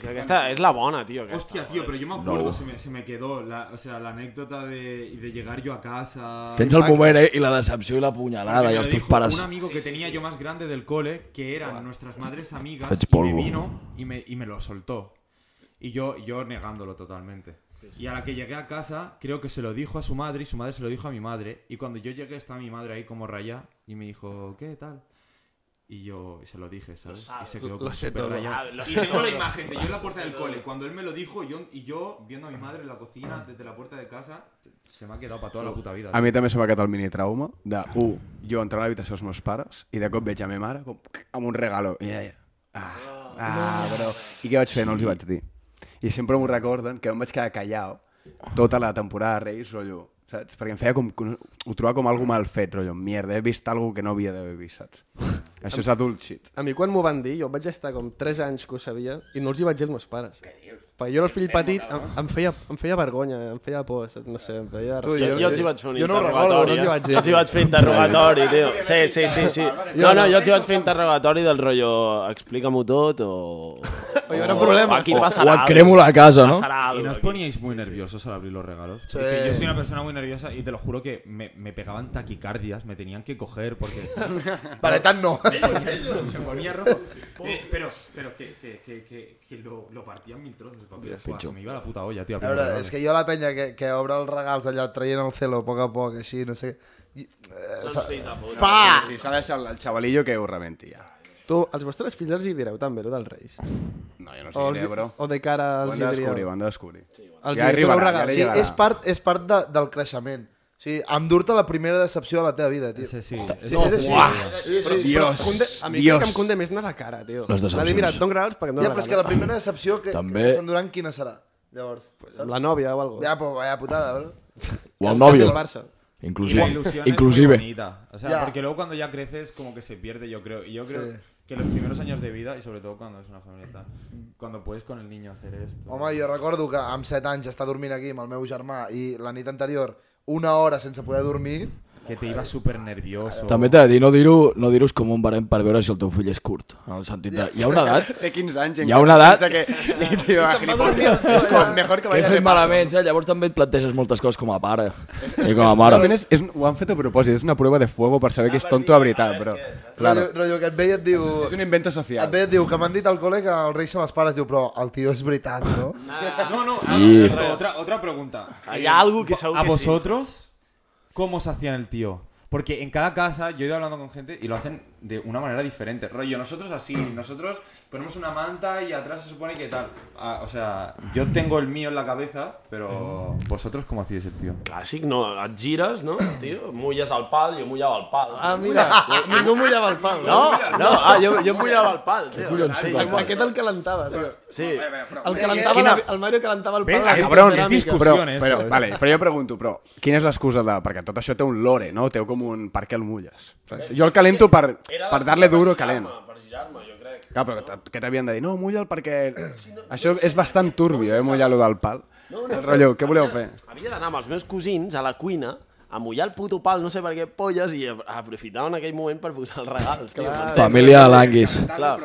S7: Que Aquesta és la bona, tio. Aquesta.
S6: Hostia, tío, pero yo me acuerdo, se, me, se me quedó la, o sea, la anécdota de, de llegar yo a casa.
S1: Tens el moment, eh? I la decepció i la punyalada,
S6: Me
S1: i
S6: lo
S1: els teus
S6: dijo
S1: pares...
S6: Un amigo que tenía yo más grande del cole, que eran nuestras madres amigas,
S1: Fetch
S6: y me
S1: polvo.
S6: vino y me, y me lo soltó. Y yo, yo negándolo totalmente. Y a la que llegué a casa, creo que se lo dijo a su madre y su madre se lo dijo a mi madre. Y cuando yo llegué, estaba mi madre ahí como raya y me dijo, ¿qué tal? Y yo y se lo dije, ¿sabes? y se quedó como súper rayada.
S7: Sabe, lo
S6: Y
S7: sé
S6: tengo
S7: todo.
S6: la imagen de yo en la puerta del cole. Cuando él me lo dijo, yo, y yo viendo a mi madre en la cocina desde la puerta de casa, se me ha quedado para toda la puta vida.
S2: A mi també se m'ha quedat el mini trauma de, u, jo entrant a l'habitació dels meus pares i de cop veig a ma mare com, amb un regalo. I ella, ah, ah, però... I què vaig fer? No els hi vaig dir. I sempre m'ho recorden que em vaig quedar callau tota la temporada de Reis, rotllo, saps? Perquè em feia com... Ho trobava com algo mal fet, rotllo, mierda, he vist algo que no havia d'haver vist, saps? Això és adult shit.
S8: A mi quan m'ho van dir, jo vaig estar com 3 anys que ho sabia i no els hi vaig dir als meus pares. Què dius? Perquè jo era el fill petit, em, em, feia, em feia vergonya, em feia por, saps? no sé, em feia...
S5: Tu,
S8: respecte.
S7: Jo, jo els hi vaig fer un
S5: Jo no ho
S7: interrogatori,
S8: recordo, no els hi vaig
S7: eh?
S8: dir.
S7: Jo els hi vaig fer interrogatori, tio. Sí, sí, sí, sí. No, no, jo els hi vaig fer interrogatori del rotllo explica-m'ho tot o...
S8: Però hi haurà problemes.
S7: Aquí
S1: O
S7: passarà
S1: et cremo la casa, no?
S7: Passarà
S6: ¿Y no os
S7: alguna cosa.
S6: poníais muy nerviosos al abrir los regalos? Porque yo soy una persona muy nerviosa y te lo juro que me, me pegaban taquicardias, me tenían que coger porque
S5: Vale, tant no.
S6: me ponía, me ponía rojo. Eh, pero pero que, que, que, que, que lo, lo partían mil trozos de papel. Buah, se me iba la puta olla, tío. a
S5: A
S6: abrir
S5: veure,
S6: los regalos.
S5: és que jo la penya que, que obre els regals allà traient el celo a poc a poc, així, no sé... I, eh, sa-
S2: Pa! Sí, s'ha deixat el xavalillo que ho rebenti, ja.
S8: Tu, als vostres fills els hi direu també, lo dels reis.
S2: No, jo no
S8: O,
S2: sé
S8: Oh, els,
S2: què, bro.
S8: o de cara
S2: Ho
S8: els
S2: han
S8: hi
S2: de descobrir,
S8: diríeu.
S2: ho han de descobrir.
S8: Els
S2: Ja
S8: hi direu
S2: arribarà,
S8: un
S2: ja
S8: regal.
S5: Sí,
S2: li-
S5: és part, és part de, del creixement. O sigui, endur-te la primera decepció de la teva vida, tio.
S6: Ese sí.
S5: Sí, és així. Sí, sí.
S2: Dios,
S8: Conde, a mi
S2: Dios.
S8: crec que em conde més anar a la cara, tio.
S1: Les
S8: M'ha dit,
S1: decepcions.
S8: mira, et dono regals perquè em
S5: Ja,
S8: dono
S5: però és que
S8: regals.
S5: la primera decepció que,
S1: També-
S5: que s'enduran quina serà, llavors.
S8: Amb La nòvia o alguna
S5: Ja, però vaya putada, bro.
S1: O el
S8: cosa.
S1: nòvio.
S8: El Barça.
S6: Y la
S1: Inclusive.
S6: ilusión
S1: Inclusive.
S6: es muy bonita. O sea,
S5: Ya.
S6: porque luego cuando ya creces, como que se pierde, yo creo. Y yo creo
S5: Sí.
S6: que los primeros años de vida, y sobre todo cuando es una familia y tal, cuando puedes con el niño hacer esto.
S5: Home, jo recordo que amb 7 anys estar dormint aquí amb el meu germà i la nit anterior una hora sense poder dormir,
S6: que te ibas súper nervioso.
S1: També t'he de dir, no dir-ho no dir com un barem per veure si el teu fill és curt. En el sentit de... Hi ha una edat
S2: Té 15 anys i
S1: Hi ha
S2: encara
S1: una edat-
S2: pensa que... I tio, va gilipolles. És com, mejor que
S1: que he
S2: vaya
S1: fet
S2: repaso.
S1: malament, eh? llavors també et planteges moltes coses com a pare i com a mare.
S2: Realment és, és, un- ho han fet a propòsit, és una prova de fuego per saber que és tonto de veritat, però... Claro.
S5: rotllo, rotllo, que et ve i et diu...
S2: És un invento
S5: Et
S2: social.
S5: ve i et diu que m'han dit al col·le que els reis són els pares, diu, però el tio és veritat, no?
S6: No, no, ah, esto, otra, otra pregunta.
S7: Hay algo que seguro
S6: ¿A
S7: que sí.
S6: vosotros cómo os hacían el tío? Porque en cada casa yo he ido hablando con gente y lo hacen de una manera diferente. Rollo, nosotros así, nosotros ponemos una manta y atrás se supone que tal. Ah, o sea, yo tengo el mío en la cabeza, pero vosotros cómo hacíais el tío.
S7: Clàssic, no? Et gires, no, tio? Mulles el pal, jo mullava el pal.
S8: Ah, mira, ningú mullava el pal.
S7: No, no, ah, jo, jo mullava el pal, tio.
S8: Aquest el calentava, tio.
S7: Sí.
S8: El, calentava la, el Mario calentava el pal.
S6: Venga,
S8: amb aquestes
S6: cabrón,
S8: ceràmiques.
S6: discus-
S2: Però,
S6: Funciona,
S2: però,
S6: esto.
S2: vale, però jo pregunto, però quina és l'excusa de... Perquè tot això té un lore, no? Té com un... Per què el mulles? Saps? Jo el calento per, per dar-li duro calent.
S7: Per girar-me, jo crec.
S2: Clar, però que t- que t'havien de dir, no, mulla'l perquè... Això és bastant turbio, eh, mullar-lo del pal. El rotllo, què voleu fer?
S7: Havia d'anar amb els meus cosins a la cuina a mullar el puto pal, no sé per què, polles, i aprofitaven aquell moment per posar els regals. Tio,
S1: Família de l'Anguis.
S7: Clar.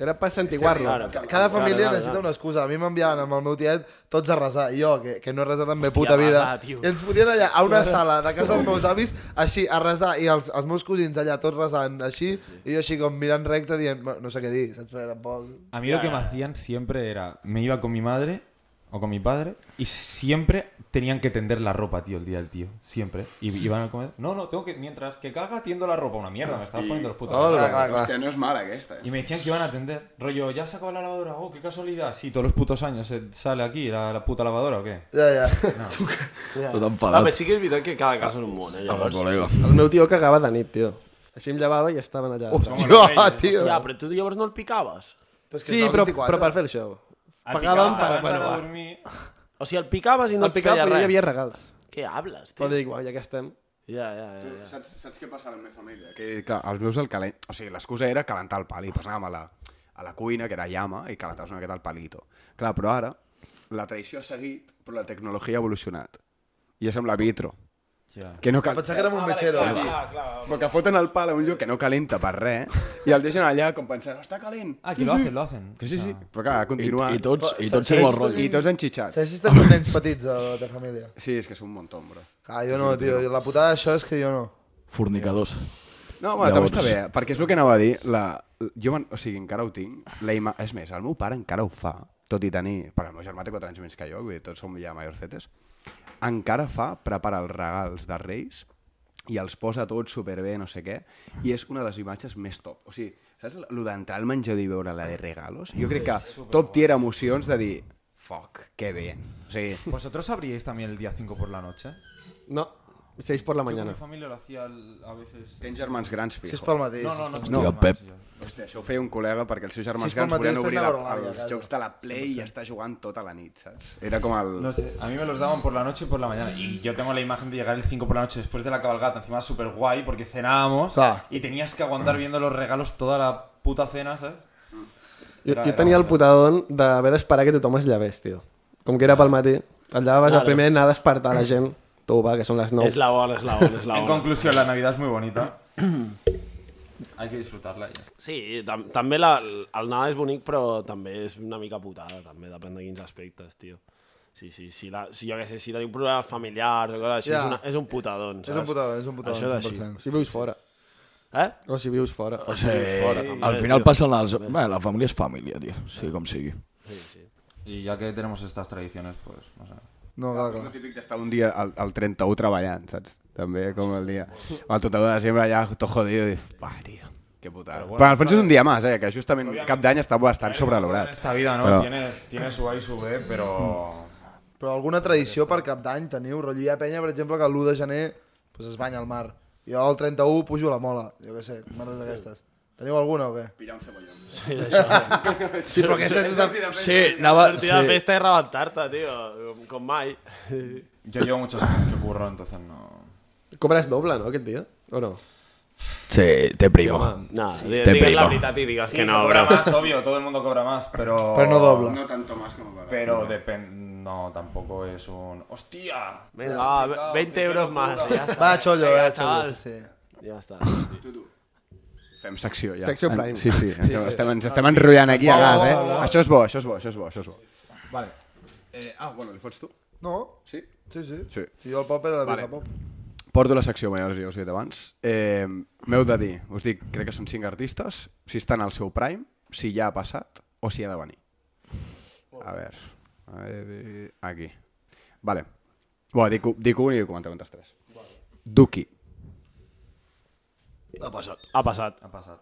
S8: Era per santiguar-lo.
S5: Ca- Cada família necessita una excusa. A mi m'enviaven amb el meu tiet tots a resar. I jo, que, que no he resat en la puta
S7: va,
S5: vida.
S7: va, tio.
S5: I ens podien allà a una sala de casa dels meus avis, així, a resar. I els, els meus cosins allà tots resant així. I jo així com mirant recte dient, "Bueno, no sé què dir, saps? Perquè tampoc...
S6: A mí lo que me hacían siempre era, me iba con mi madre o con mi padre y siempre tenían que tender la ropa, tío, el día del tío. Siempre. Y iban al comedor. No, no, tengo que, mientras que caga, tiendo la ropa. Una mierda, me estabas poniendo los putos. nervios.
S5: Clar, clar, clar.
S2: Hòstia, no és mala aquesta, eh?
S6: Y me decían que iban a atender. Rollo, ya se acaba la lavadora. Oh, qué casualidad. Sí, todos los putos años se sale aquí la, la puta lavadora o qué.
S5: Ja, ja.
S1: Tot
S7: Va, però
S1: enfadat. Doncs,
S7: sí que és veritat que cada casa és un món, eh, llavors.
S1: Col·lega.
S8: El meu tio cagava de nit, tio. Així em llevava i estaven allà.
S5: Hòstia, tio.
S7: Ja, però tu llavors no el picaves.
S5: Però és que
S8: Sí,
S5: estava
S8: però,
S5: 24.
S8: però per fer el show.
S7: Ah,
S6: El
S8: Pagaven
S6: picabas
S8: per...
S6: abans
S8: Bueno,
S6: de
S8: va.
S6: dormir...
S7: O sigui, el picaves i no
S8: El
S7: et
S8: picava,
S7: feia
S8: però
S7: res.
S8: hi havia regals.
S7: Què hables, tio?
S8: Però dic, bueno, ja que estem...
S7: Ja, ja, ja. ja.
S2: Saps, saps què passa a la meva família? Que, clar, els meus el calent... O sigui, l'excusa era calentar el pal i pues anàvem a la, a la cuina, que era llama, i calentaves una miqueta el palito. Clar, però ara la tradició ha seguit, però la tecnologia ha evolucionat. I és amb la vitro. Ja. Que no cal...
S5: Pensava que érem un metgero.
S2: Però que foten el pal a un lloc que no calenta per res i el deixen allà com pensant, "Oh, està calent.
S6: Ah, que lo hacen, lo hacen.
S2: Que sí, sí. Però clar, ha
S1: I,
S2: continuat.
S1: I tots, i tots
S5: Sí,
S1: seguim el
S5: sí.
S1: rotllo.
S2: I tots enxitxats.
S5: Saps si estàs amb nens petits a la teva família?
S2: Sí, és que és un montón, bro.
S5: Ah, jo no, tio. La putada d'això és que jo no.
S1: Fornicadors.
S2: No, home, també està bé, perquè és el que anava a dir. La... Jo, me'n- o sigui, encara ho tinc. La ima... És més, el meu pare encara ho fa, tot i tenir... Perquè el meu germà té 4 anys més que jo, vull dir, tots som ja majorcetes. Encara fa, prepara els regals de Reis i els posa tots superbé, no sé què, i és una de les imatges més top. O sigui, saps el d'entrar al menjador i veure la de regalos? Jo crec que top tier emocions de dir, fuck, que bé. O sigui,
S6: ¿Vosotros abríais también el día 5 por la noche?
S8: No, 6 por la
S6: Yo con
S8: mañana.
S6: mi familia lo hacía al- a veces...
S2: tens germans grans,
S5: Si és
S2: fijo.
S5: pel matí.
S6: No, no, no.
S1: Hòstia,
S6: no, no,
S1: Pep.
S6: no, no.
S2: Hòstia, això ho feia un col·lega perquè els seus germans
S5: Sis pel
S2: grans
S5: matí,
S2: volien
S5: després
S2: obrir la,
S5: anava a l'horari a
S2: els
S5: casa.
S2: jocs de la Play i estar jugant tota la nit, saps? Era com el...
S6: No sé, a mí me los daban por la noche y por la mañana. Y yo tengo la imagen de llegar el 5 por la noche después de la cabalgata, encima súper guay, porque cenábamos
S5: Claro.
S6: y tenías que aguantar viendo los regalos toda la puta cena, ¿sabes?
S8: Jo,
S6: Era-
S8: jo
S6: era
S8: tenia el
S6: molt
S8: putadón d'haver d'esperar que tothom es llevés, tio. Com que era pel matí, allà vas a
S7: Claro.
S8: primer anar a despertar la gent. Tu, va, que són les 9.
S7: És la bona, és la bona, és la
S6: en
S7: bona.
S6: conclusión, la Navidad es muy bonita. Hay que disfrutarla. y ya está.
S7: Sí, tam també la, el Nadal és bonic, però també és una mica putada, també, depèn de quins aspectes, tio. Sí, sí, si, la, si jo què sé, si teniu problemes familiars o coses així,
S5: Ja.
S7: és, una, és un putadón,
S5: És un putador, és un putador.
S7: Això és així.
S5: 100%.
S8: Si vius fora.
S7: Eh?
S8: O si vius fora.
S1: O sigui,
S7: fora, també,
S1: Eh, al final
S7: tio.
S1: passa les... Bé, la família és família, tio. Sigui com sigui.
S6: Y ya que tenemos estas tradiciones, pues, no sé.
S5: No, clar,
S2: És
S5: clar.
S2: el típic d'estar un dia al, al 31 treballant, saps? També com el dia... El total de desembre allà, tot jodido, i... Va, tio, que putada. Però, bueno, Però Alfons és un dia més, eh? Que justament cap d'any està bastant
S6: En
S2: sobrevalorat.
S6: esta vida, ¿no?
S2: Pero-
S6: Tienes, tienes su A y su B, pero...
S5: Però alguna tradició per cap d'any teniu? Rotllo, hi ha penya, per exemple, que l'1 de gener pues, es banya al mar. Jo el 31 pujo a la mola. Jo què sé, merdes d'aquestes. Teniu alguna o què?
S7: Sí, això.
S5: Sí, però aquestes... és de-
S7: Sí,
S5: Ah,
S7: anava... Sortir de festa i rebentar-te, tio, com, com mai.
S6: Yo llevo muchos años que curro, entonces no...
S8: Cobres doble, no, aquest dia? O no?
S1: Sí, té primo.
S7: No, sí,
S1: Te
S7: digues la
S1: primo.
S7: veritat i digues que
S6: se
S7: no,
S6: cobra
S7: bro.
S6: más, obvio, todo el mundo cobra más, pero...
S5: Però no doble.
S2: No tanto más como para...
S6: Pero depende... No, tampoco es un... ¡Hostia!
S7: Vinga, va, 20 euros més, i ja està.
S5: Va, xollo,
S7: Vinga,
S5: va, xollo,
S7: xavals.
S5: sí, sí.
S7: Ja està.
S2: Fem secció, ja.
S8: Secció Prime.
S2: Sí, sí. sí, sí. Estem, ens estem enrotllant aquí a gas, eh? Això és bo, això és bo, això és bo, això és bo.
S6: Vale.
S2: Eh, ah, bueno, li fots tu?
S5: No?
S2: Sí?
S5: Sí, sí.
S2: Sí.
S5: Si jo el pop era la
S2: Vale.
S5: vale. pop.
S2: Porto la secció, bueno, ja us he dit abans. Eh, M'heu de dir, us dic, crec que són cinc artistes, si estan al seu prime, si ja ha passat o si ha de venir. A veure, a veure aquí. Vale. Bé, dic, dic un i comenteu entre els tres. Duki.
S1: Ha passat. Em
S7: Ha passat.
S6: Ha pasado.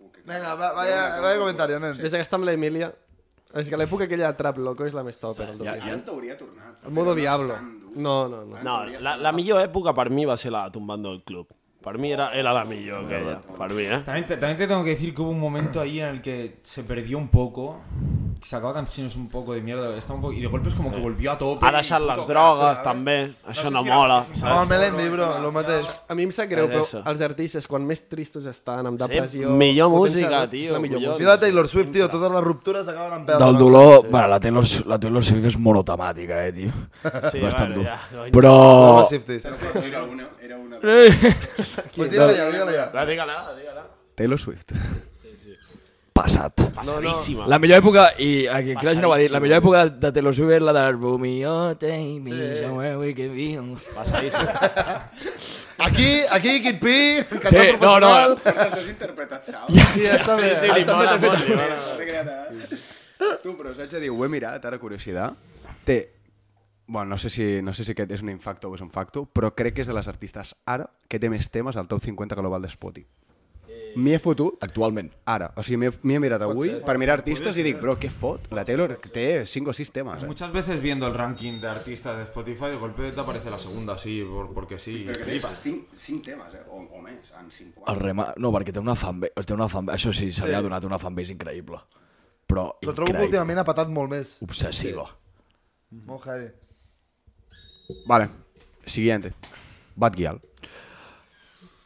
S5: Vinga, va, vaya, vaya comentario, nen.
S8: Des que està amb la Emília, és que l'època aquella de Trap Loco és la més top. Ja, ja,
S2: Ja en teoria ha tornat.
S8: El modo Diablo. No, no, no.
S7: No, la, la millor època per mi va ser la de Tumbando el Club. Per mi era, era la millor aquella, per mi, eh?
S6: También te, también te tengo que decir que hubo un momento ahí en el que se perdió un poco, que sacaba canciones un poco de mierda, estaba un poco, y de golpe es como que volvió a tope.
S7: Ha
S6: y
S7: deixat les
S6: puto crack,
S7: drogues,
S6: ¿sabes?
S7: també.
S6: sé
S7: Això no
S6: si era-
S7: mola,
S6: és un
S5: No,
S7: saps?
S5: el Melendi, bro, lo mateix.
S8: A mi em sap greu,
S7: És
S8: però
S7: això.
S8: els artistes, quan més tristos estan, amb
S7: Sí,
S8: depressió...
S7: millor
S8: fotent-se-
S7: música,
S8: és
S7: tio,
S8: la millor
S7: millor.
S5: Mira la Taylor Swift, tio, totes les ruptures acaben amb pèl.
S1: Del dolor... Bueno, la Taylor, la Taylor Swift és monotemàtica, eh, tio.
S7: Sí,
S1: Bastant
S7: bueno,
S1: dur.
S7: ja, cony.
S1: Però...
S5: No, Pues
S2: Era una, era una...
S5: digue-la ja, digue-la ja.
S7: Va, digue-la, digue-la.
S2: Taylor Swift.
S1: Passat.
S7: Passadíssima.
S1: La millor època, i aquí Crash no ho ha dit, la millor època de Taylor Swift és la de Romeo, take me somewhere we can be.
S7: Passadíssima.
S5: Aquí, aquí, Kid P, cantant
S1: Sí, no, no.
S5: professional.
S2: Els dos interpretats, saps?
S5: Sí, ja està bé.
S7: Sí, li mola molt, li mola.
S2: Tu, però us haig de dir, ho he mirat, ara curiositat. Té... Bueno, no sé, si, no sé si aquest és un infacto o és un facto, però crec que és de les artistes ara que té més temes al top 50 global de Spotify.
S4: M'hi he fotut
S1: Actualment.
S4: ara. O sigui, m'hi he- m'hi he mirat avui per mirar artistes i dic, bro, què fot? La Taylor té 5 o 6 temes. Eh?
S6: Muchas veces viendo el ranking de artistas de Spotify, de golpe te aparece la segunda, sí, por- porque sí. flipas.
S4: 5, 5 temes, eh? O, o més, en 50.
S1: El Rema... No, perquè té una fanbase... Té una fanbase... Això sí, se li ha donat una fanbase increïble. Però
S5: Però trobo que
S1: increïble.
S5: últimament ha patat molt més.
S1: Obsessiva.
S5: Molt heavy.
S4: Ah, Vale, siguiente. Bad Gyal.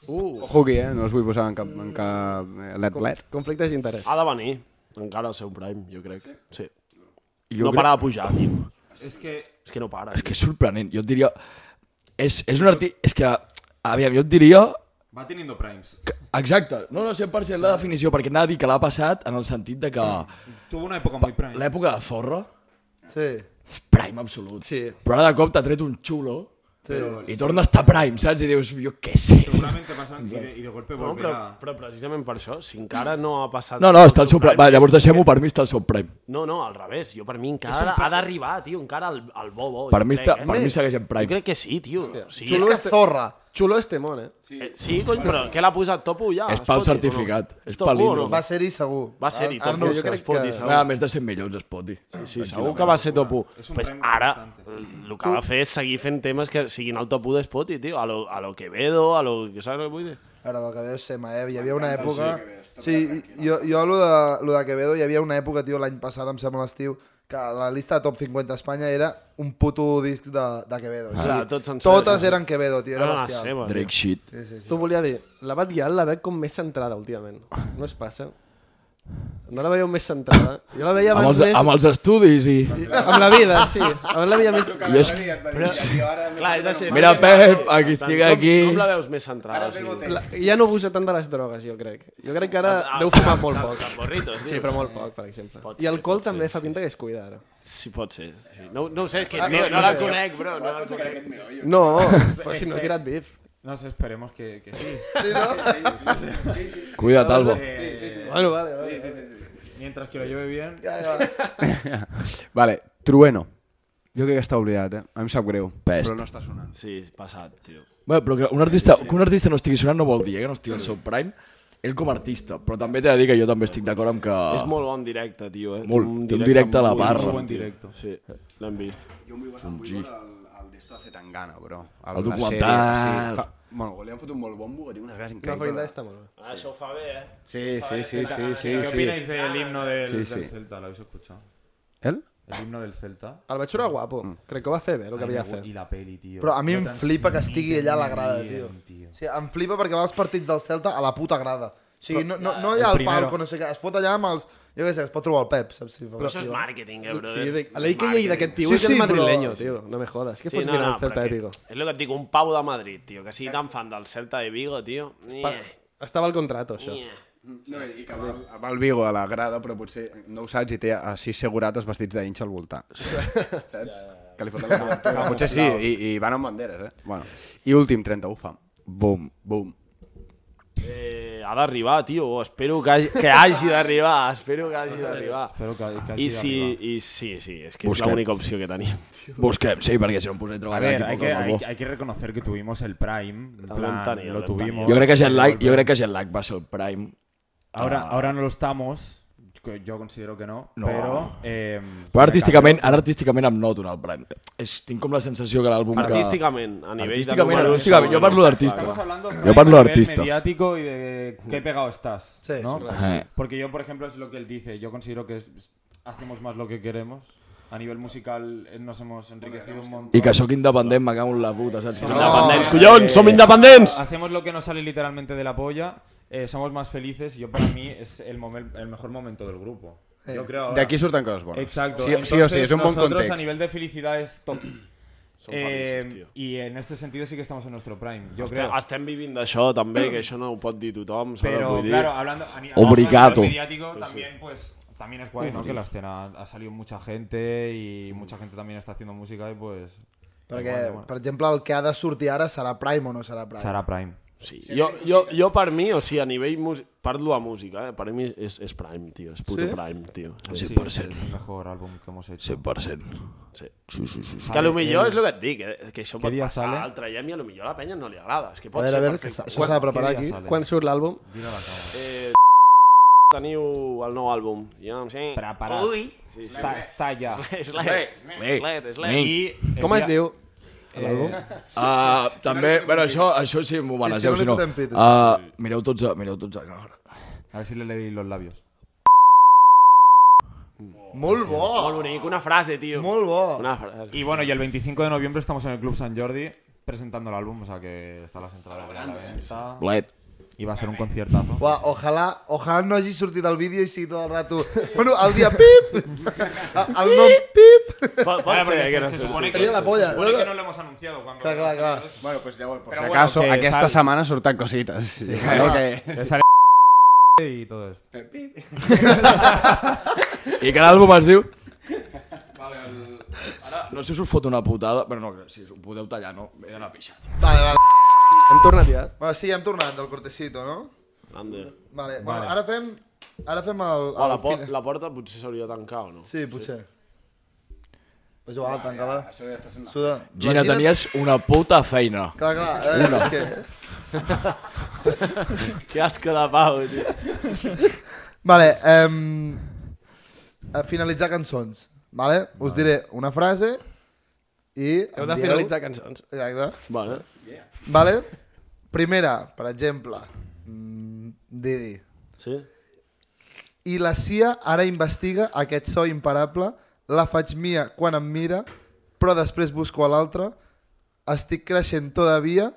S4: Uh. Ojo aquí, eh? No us vull posar en cap, en cap eh, let let.
S8: Conflictes d'interès.
S7: Ha
S8: Ah,
S7: de venir, encara al seu prime, jo crec. Sí.
S1: Jo
S7: no
S1: crec-
S7: para de pujar, tio.
S6: Es que
S7: És que no para.
S1: És que és sorprenent. Jo et diria... És, és un arti... És que... Aviam, jo et diria...
S6: va teniendo primes.
S1: Que... Exacte. No, no, 100% la definició, perquè anava a dir que l'ha passat en el sentit de que
S6: Tuvo una época muy prime.
S1: l'època de Zorra,
S5: Sí,
S1: prime absolut.
S8: Sí.
S1: Però ara de cop t'ha tret un xulo
S5: sí.
S1: i torna a estar prime, saps? I dius, jo què sé.
S6: Seguramente pasan y de, y de golpe
S7: No, però,
S6: volverá.
S7: però precisament per això, si encara no ha passat...
S1: No, no, està el seu prime. Va, llavors
S7: és
S1: deixem-ho per mi, està el seu prime.
S7: que- No, no, al revés. Jo per mi encara ha d'arribar, tio, encara al, al bo bo.
S1: Per
S7: jo
S1: mi,
S7: crec,
S1: està,
S7: eh?
S1: per mi segueix en
S7: Jo
S1: prime.
S7: crec que sí, tio. Sí, és
S5: Xulo
S7: que... este-
S5: és zorra.
S8: Xulo és temón, eh?
S7: Eh, sí, cony, però què l'ha posat Topo ja?
S1: És pal
S7: Spotify, o no?
S1: certificat, és
S7: Topo o
S1: palíndrom.
S5: Va ser-hi segur.
S7: Va ser-hi,
S5: Ara- ara
S7: Topo.
S5: no ho sé.
S7: Spotify,
S8: que-
S7: segur. Doncs
S1: Va, més de 100 milions es pot dir.
S7: Sí, segur que va ser top 1.
S6: un
S7: Pues
S6: premi
S7: ara, el que ha de fer és seguir fent temes que siguin al top 1 de Spotify, tio. A lo, a lo Quevedo, a lo... Saps què vull dir?
S5: Ara, del Quevedo és sema, eh? Hi havia una època... Sí, jo, jo lo de, lo de Quevedo, hi havia una època, tio, l'any passat, em sembla, l'estiu, que la lista de top 50 a Espanya era un puto disc de, de Quevedo. O
S7: Ah. Clar, tots Ah, sencer,
S5: totes
S7: sí.
S5: eren Quevedo, tio, era
S7: Era la
S5: bestial.
S7: seva.
S1: Drake shit.
S5: Sí, sí, sí.
S8: Tu volia dir, la Bad Gyal la veig com més centrada últimament. No es passa? No la veieu més centrada? Jo la veia
S1: Amb
S8: abans
S1: els,
S8: més...
S1: amb els estudis i...
S8: Amb la vida, sí. Abans la veia més...
S1: Jo és...
S7: Clar, és així.
S1: Mira, Pep, aquí estic aquí.
S7: Com, com la veus més centrada? O sigui,
S8: La... Ja no abusa tant de les drogues, jo crec. Jo crec que ara
S7: Ah,
S8: deu
S7: sí,
S8: fumar
S7: amb-
S8: molt
S7: amb-
S8: poc.
S7: amb borritos,
S8: Sí,
S7: tio.
S8: però molt poc, per exemple.
S7: Pot
S8: I
S7: ser,
S8: alcohol
S7: pot
S8: també
S7: ser,
S8: fa
S7: sí,
S8: pinta que es cuida ara.
S7: Sí, pot ser. Sí. No, no ho sé, és que Ah, no, no la conec, bro. No la conec.
S8: No, però si no he tirat bif.
S6: No sé, esperemos que, que sí.
S1: Cuida't, Albo.
S6: Eh,
S8: Bueno, vale, vale.
S6: Mientras que lo lleve bien.
S4: Vale, Trueno. Jo crec que està oblidat, eh? A mi em sap greu.
S1: Pest.
S4: Però no està sonant.
S7: Sí, és passat, tio.
S1: Bé, però que un artista, que un artista no estigui sonant no vol dir eh, que no estigui al seu prime. Ell com a artista, però també t'he de dir que jo també estic d'acord amb que...
S7: És molt bon directe, tio, eh?
S1: Molt. Té un directe a la
S7: molt
S1: barra.
S7: Molt bon directe. Sí, l'hem vist.
S4: Jo em vull veure, em vull veure el, el d'esto de Zetangana, bro. El,
S1: El
S4: la
S1: documental.
S4: sèrie, sí, fa... Bueno, li han fotut molt bombo, que tinc unes ganes
S8: No, Farinda
S4: increïbles.
S8: està molt bé.
S7: Ah, això ho fa bé, eh?
S4: Sí, sí, sí, sí, sí, sí.
S6: ¿Qué opináis del himno del,
S4: Sí, sí.
S6: del Celta? ¿Lo habéis escuchado?
S4: El?
S6: El himno del Celta.
S8: El vaig trobar guapo.
S5: Mm.
S8: Crec que ho va fer bé, el que havia
S6: Ay, me
S8: de
S6: gu- Y
S8: fer.
S6: la peli, tío.
S5: Però a mi
S6: Lo
S5: em flipa que estigui allà a la grada, tio.
S6: transmiten bien,
S5: O sigui, em flipa perquè va als partits del Celta a la puta grada. O sigui, no, no, no hi ha el, palco, no sé què, es fot allà amb els... Jo què sé, es pot trobar el Pep, saps? Si
S7: Però això és màrqueting, eh, bro.
S8: Sí, de... l'IKEA d'aquest tio
S5: Sí,
S8: és el
S5: sí, però-
S8: madrileño, tio. No me jodas. Què
S7: Sí,
S8: fots
S7: no,
S8: mirar
S7: no,
S8: el Celta
S7: perquè
S8: de Vigo?
S7: És el que et dic, un pavo de Madrid, tio, que sigui tan fan del Celta de Vigo, tio.
S8: Pa-
S7: Nye,
S8: Estava al contrato, això.
S7: nye.
S4: No, i que va, va el Vigo a la grada, però potser no ho saps i té a sis segurates vestits d'inxa al voltant. Saps? Que li foten la cobertura. Potser sí, i, i van amb banderes, eh? Bueno. I últim, 31 fam. Boom, boom.
S7: Eh, ha d'arribar, tio. Espero que hagi, que hagi d'arribar. Espero que hagi d'arribar.
S6: Espero que, que
S7: I
S6: hagi
S7: sí,
S6: arribat.
S7: i sí, sí, és que és
S1: Busquem.
S7: l'única opció que tenim.
S1: Busquem, sí, perquè si no em posaré a
S6: A
S1: treballar
S6: ver,
S1: aquí
S6: hay
S1: poc
S6: que, hay,
S1: a
S6: que- hay que reconocer que tuvimos el Prime. en
S7: Lo
S6: plan,
S7: han tenido,
S6: lo
S7: lo han tenido.
S6: tuvimos.
S1: Jo crec que Jetlag, jo crec que Jetlag va ser el prime.
S6: Ahora, ahora no lo estamos. que Yo considero que no.
S1: No.
S6: Pero,
S4: Pues
S6: eh,
S1: Però artísticament, ara artísticament em noto en el prime. És, tinc com la sensació que l'àlbum que...
S7: Artísticament, a nivell
S1: Artísticament,
S7: de números...
S1: artísticament, jo parlo d'artista.
S6: Estamos hablando de
S1: Yo parlo
S6: nivel
S1: artista.
S6: mediático y de qué pegado estás.
S5: Sí,
S6: ¿no?
S5: sí,
S1: Ajá.
S6: Porque yo, por ejemplo, es lo que él dice. Yo considero que es- hacemos más lo que queremos. A nivel musical eh, nos hemos enriquecido un montón.
S1: I que sóc independent, me cago en la puta, saps?
S5: Ah.
S7: Independents, collons! Som independents!
S6: Hacemos lo que nos sale literalmente de la polla. eh, somos más felices. y Yo para mí es el, momen- el mejor momento del grupo. Yo creo ahora.
S4: D'aquí surten coses bones.
S6: Exacto.
S4: Sí, sí o sí,
S6: Entonces,
S4: és un bon
S6: nosotros a
S4: context.
S6: nivel de felicidad es top.
S7: Som feliços,
S6: Eh,
S7: tio.
S6: y en este sentido sí que estamos en nuestro prime. Yo
S7: Estem,
S6: creo.
S4: Ah,
S7: estem vivint d'això, també, que això no ho pot dir tothom, saps què
S6: Pero
S7: vull dir?
S6: claro, hablando a ni- a
S1: Obrigado.
S6: nivel mediático también pues también es guay, ¿no? Que la escena ha salido mucha gente y mucha gente también está haciendo música y pues
S5: Perquè,
S6: bueno, bueno.
S5: per exemple, el que ha de sortir ara serà Prime o no serà Prime.
S6: Será Prime.
S7: Sí. Jo, jo, jo per mi, o sigui, a nivell... mus- Parlo de música, eh? Per mi és, és prime, tio. És puto prime, tio. Sí,
S1: Sí, por ser.
S6: Es el mejor álbum que hemos hecho.
S1: 100%.
S7: sí.
S1: Sí, sí, sí. sí.
S7: Que a lo millor és el que et dic, eh? que això pot
S6: dia
S7: passar
S6: sale?
S7: a l'altre dia, i a lo millor a la penya no li agrada. És que
S5: A
S7: pot
S5: veure, a
S7: ser
S5: veure, que s'ha-
S7: perfecte.
S5: això s'ha de preparar
S6: Què
S5: aquí.
S6: dia sale?
S8: Quan surt l'àlbum?
S6: Dile a la cámara.
S7: Eh, teniu el nou àlbum. Jo no em sé.
S10: Preparat. Ui.
S7: Sí, sí.
S10: Està, està ja.
S7: És l'Ed,
S1: Bé,
S7: és l'Ed, és
S1: bé.
S7: l'Ed. I eh,
S8: Com es diu?
S1: Uh, també, bueno, això, això sí, m'ho manegeu,
S5: Sí, sí,
S1: si no.
S5: no li fotem pit,
S1: Uh, mireu tots a, mireu tots eh, a càmera.
S6: A ver si le leí los labios.
S5: Molt bo!
S7: molt bonic, una frase, tio.
S5: Molt bo!
S7: Una frase.
S6: Y bueno, y el 25 de noviembre estamos en el Club San Jordi presentando el álbum, o sea que están las entradas ya a la venta.
S1: Bled.
S6: Y va a ser un conciertazo.
S5: Uà, ojalà, ojalà no hagi sortit el vídeo i sigui tot el rato... Bueno, el dia pip! El, el nom pip!
S7: Pot, pot ser, que no
S6: se,
S7: sé.
S6: supone que,
S5: Sería la polla.
S6: se supone que no lo hemos anunciado. Cuando
S5: Clar, clar, clar.
S2: Bueno, pues llavors, por
S6: Pero
S2: si
S6: bueno,
S2: acaso,
S6: que
S2: aquesta
S6: sal-
S2: setmana surten cositas. Sí, que...
S6: Que sale y todo esto.
S1: I que l'àlbum es diu... Vale, el... Ara, no sé si us fot una putada, però no, que si us ho podeu tallar, no? He d'anar a pixar, tio.
S5: Vale, vale.
S8: Hem tornat ja.
S5: Bueno, sí, hem tornat del cortecito, no?
S7: Ander.
S5: Vale, bueno, ara fem... Ara fem el...
S7: O
S5: el
S7: la, por
S5: fina-
S7: la porta potser s'hauria de tancar o no?
S5: Sí, potser. Pues igual, tanca-la. Suda.
S1: Gina, tenies una puta feina.
S5: Clar, clar, eh, és que...
S7: Que asco de pau, tio.
S5: Vale, ehm... a finalitzar cançons, vale? Us diré una frase i...
S8: Heu
S5: em
S8: de
S5: dieu-
S8: finalitzar cançons.
S5: Exacte.
S7: Bueno,
S5: Vale? Primera, per exemple, mm, Didi.
S7: sí.
S5: I la CIA ara investiga aquest so imparable, la faig mia quan em mira, però després busco a l'altra, estic creixent todavia...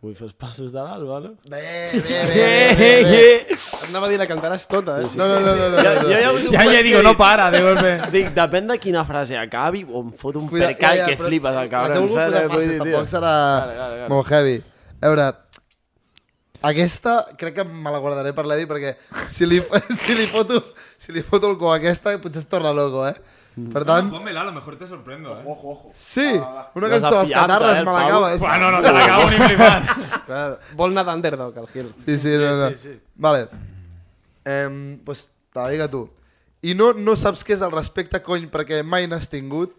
S7: Vull fer els passos de l'alba, no?
S5: Bé, bé, bé, bé, bé, bé.
S8: Anava a dir, la cantaràs tota, eh?
S5: No, no, no, no, no.
S7: Ja,
S5: no.
S7: ja, hi ha hagut un
S6: Ya,
S7: moment
S6: ya
S7: que
S6: digo,
S7: dic-
S6: no para, de golpe.
S7: Dic, depèn de quina frase acabi, o em fot un
S5: Cuida-
S7: percal
S5: ja, ja,
S7: que
S5: però
S7: flipes al
S5: Les heu
S7: cabron. saps?
S5: volgut posar
S7: Vull
S5: fases,
S7: dir, tio.
S5: tampoc serà molt heavy. A veure, aquesta crec que me la guardaré per l'Edi perquè si li, si li foto si li foto el cul a aquesta potser es torna loco, eh? Per tant,
S6: Pónmela, a lo mejor te sorprendo, eh.
S5: sí, una cançó a les
S7: Desafiant, Ah, eh,
S5: catarres
S7: el
S5: me
S7: Pau.
S5: l'acaba. és-
S6: Ah, no, no, te la acabo ni flipar.
S8: Clar, Vol anar d'underdog, el Gil.
S5: Sí, sí, no, no. Vale. Em, pues te la dic a tu. I no, no saps què és el respecte, cony, perquè mai n'has tingut.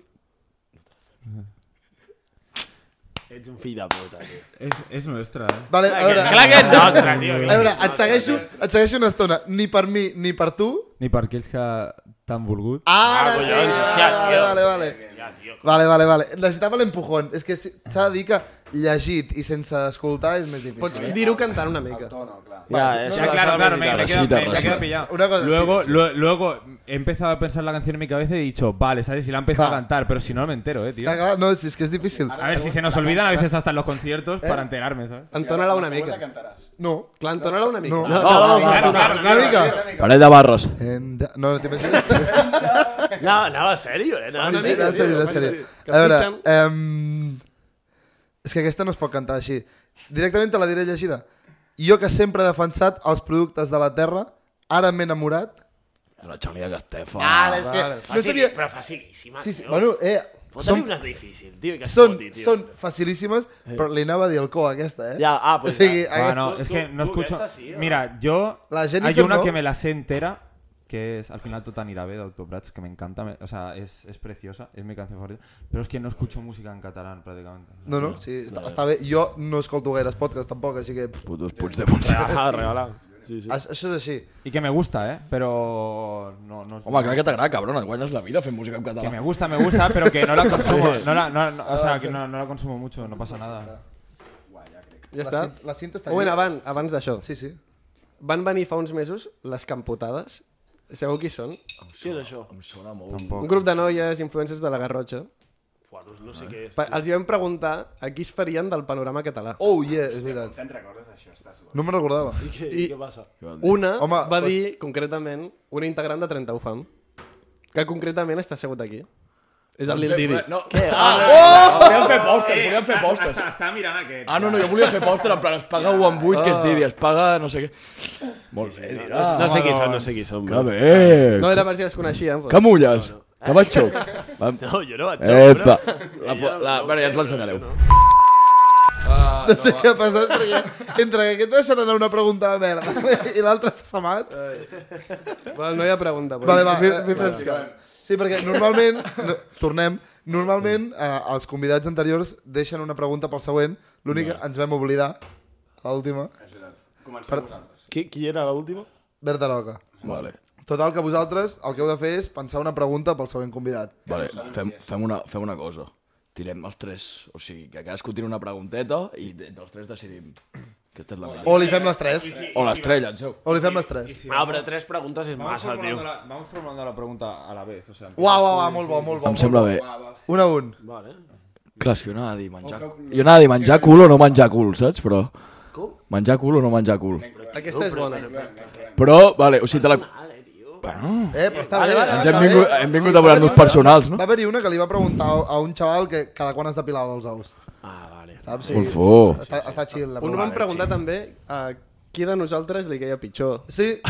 S7: Ets un fill de puta, tio.
S6: Es, es nuestra, eh.
S5: Vale, a veure,
S7: Clar que ets nostre, tio.
S5: a veure, et segueixo, et segueixo una estona. Ni per mi, ni per tu,
S6: Ni per aquells que tan volgut.
S5: Ara sí,
S7: collons,
S5: vale,
S7: hòstia,
S5: vale,
S7: tio.
S5: vale, vale. Vale, vale, vale. Necessitava l'empujón. És que si- s'ha de dir que llegit i sense escoltar és més difícil.
S8: Pots dir-ho cantant una mica.
S7: Ja,
S6: Ya, claro, claro, me, me he
S1: Recita,
S6: quedado- me- me he quedado
S1: recita.
S6: pillado.
S5: Una cosa,
S6: luego,
S5: sí, sí.
S6: lue- luego he empezado a pensar la canción en mi cabeza y he dicho, vale, ¿sabes? Si la he empezado
S5: Claro.
S6: a cantar, pero si no, no me entero, eh, tío.
S5: Clar, clar, no, si és que és difícil.
S6: A ver, si se nos olvidan a veces hasta en los
S5: ¿Eh?
S6: conciertos para enterarme, ¿sabes?
S8: Entona-la una mica.
S5: No.
S8: Clar, entona-la una mica.
S5: No,
S7: no, no,
S5: Una
S7: no,
S5: mica. Una mica.
S1: Paret de barros.
S5: En da- No, no t'imagines.
S7: No, anava sèrio, eh? Anava
S5: Sí, sí, en sèrio, en sèrio. A veure, em, és que aquesta no es pot cantar així. Directament te la diré llegida. Jo que sempre he defensat els productes de la terra, ara m'he enamorat...
S1: La Xònia Castefa.
S5: Ara, és que no
S7: Facili,
S5: sabia...
S7: però facilíssima.
S5: Sí, sí, bueno, eh...
S7: Fot-li
S5: Som
S7: una difícil, tio, que es
S5: són,
S7: foti, tio.
S5: són facilíssimes, però li anava a dir el co aquesta, eh?
S7: Ja, ah,
S5: o
S7: pues
S5: sigui,
S7: ja.
S5: aquest-
S6: Bueno,
S7: Tú-
S6: es
S7: tú-
S6: que no
S7: tú
S6: escucho.
S7: esta sí, ¿o no?
S6: Mira, yo.
S5: La
S6: Hay
S5: Jennifer
S6: una
S5: no.
S6: que me la sé entera, que es al final Totanirabe de Autobrats, que me encanta. me- o sea, es, es preciosa, es mi canción favorita. Pero es que no escucho música en catalán prácticamente.
S5: No, no, sí, està, està bé. Jo no escolto gaires podcasts tampoc, així que... Pff,
S1: Putos Puig de Montsant.
S7: Regalada, regalada. Sí, sí.
S5: a- això és així.
S6: Y que me gusta, ¿eh? Pero. No, no
S1: Home, clar que t'agrada, cabrón. Et guanyes la vida fent música en
S6: Que me
S1: català.
S6: gusta, me gusta, pero que no la consumo. No la, no- no- o
S5: Ah,
S6: sea, que no, no la consumo mucho, no pasa nada.
S8: Ja
S5: La,
S8: està.
S5: cin- la cinta està
S8: Un moment, abans, abans d'això.
S5: Sí, sí.
S8: Van venir fa uns mesos les campotades. Sabeu qui són?
S7: Què és això?
S1: Em sona molt.
S8: Un grup de noies influencers de la Garrotxa. Eh.
S7: Buah, doncs no sé què és.
S8: Pa- Els hi vam preguntar a qui es farien del panorama català.
S5: Oh, yeah, és veritat. Te'n recordes d'això? No me'n recordava.
S7: I què, i què passa?
S8: Una
S5: Home,
S8: va
S5: pues-
S8: dir, concretament, un integrant de 30 UFAM, que concretament està assegut aquí. És el Lil Didi.
S1: No, què? Ah, oh! Volíem fer postres, volíem fer postres.
S6: Está mirando que.
S1: Ah, no, no, jo volia fer postres, en plan, es paga 1 amb 8, que és Didi, es paga no sé què. Molt bé, dirà.
S7: No sé qui són, no sé qui són.
S1: Que
S7: bro.
S1: bé.
S8: No era per si doncs. es coneixien. Però...
S1: Que mulles. Que vaig xoc. Va-
S7: No, jo no vaig
S1: Epa.
S7: xoc,
S1: La, po- la, bueno, ja ens l'ensenyareu.
S7: No.
S1: Uh,
S5: Ah, no eh. sé què ha passat, perquè entre que aquest ha deixat anar una pregunta de merda i l'altre s'ha samat...
S8: Val, no hi ha pregunta. Però
S5: Vale, va.
S8: vull-
S5: eh,
S8: vull fer-
S5: Sí, perquè normalment... No, tornem. Normalment eh, els convidats anteriors deixen una pregunta pel següent. L'únic que ens vam oblidar, l'última.
S7: Qui, qui era l'última?
S5: Berta Roca.
S1: Vale.
S5: Total, que vosaltres el que heu de fer és pensar una pregunta pel següent convidat.
S1: Vale, fem, fem, una, fem una cosa. Tirem els tres. O sigui, que cadascú tira una pregunteta i de- entre els tres decidim. Aquesta és la millor.
S5: O li fem les tres.
S1: O l'estrella, llanceu.
S5: O li fem les tres.
S7: Ah, però tres preguntes és
S6: Vamos,
S7: massa,
S6: formulando
S7: tio.
S6: la, vamos formulando la pregunta a la vez. O sea,
S5: Uau, uau, uau, molt bo, molt bo.
S1: Em sembla bé.
S5: Un a un.
S7: Vale.
S1: Clar, és que jo anava a dir menjar... Jo anava a dir menjar cul o no menjar cul, saps? Però... Menjar cul o no menjar cul.
S8: Aquesta és bona.
S1: Però, vale, o sigui, te la... Bueno,
S5: Eh, però està bé.
S1: ens
S5: està
S1: hem vingut,
S5: bé.
S1: hem vingut a volar-nos personals, no?
S5: Va haver-hi una que li va preguntar a a un xaval que cada quan es depilava els ous.
S7: Ah, vale.
S5: Saps? Sí,
S1: Golfó.
S5: Està, està chill. La
S8: Un
S5: pregunta.
S8: van preguntar també a qui de nosaltres li queia pitjor.
S5: Sí.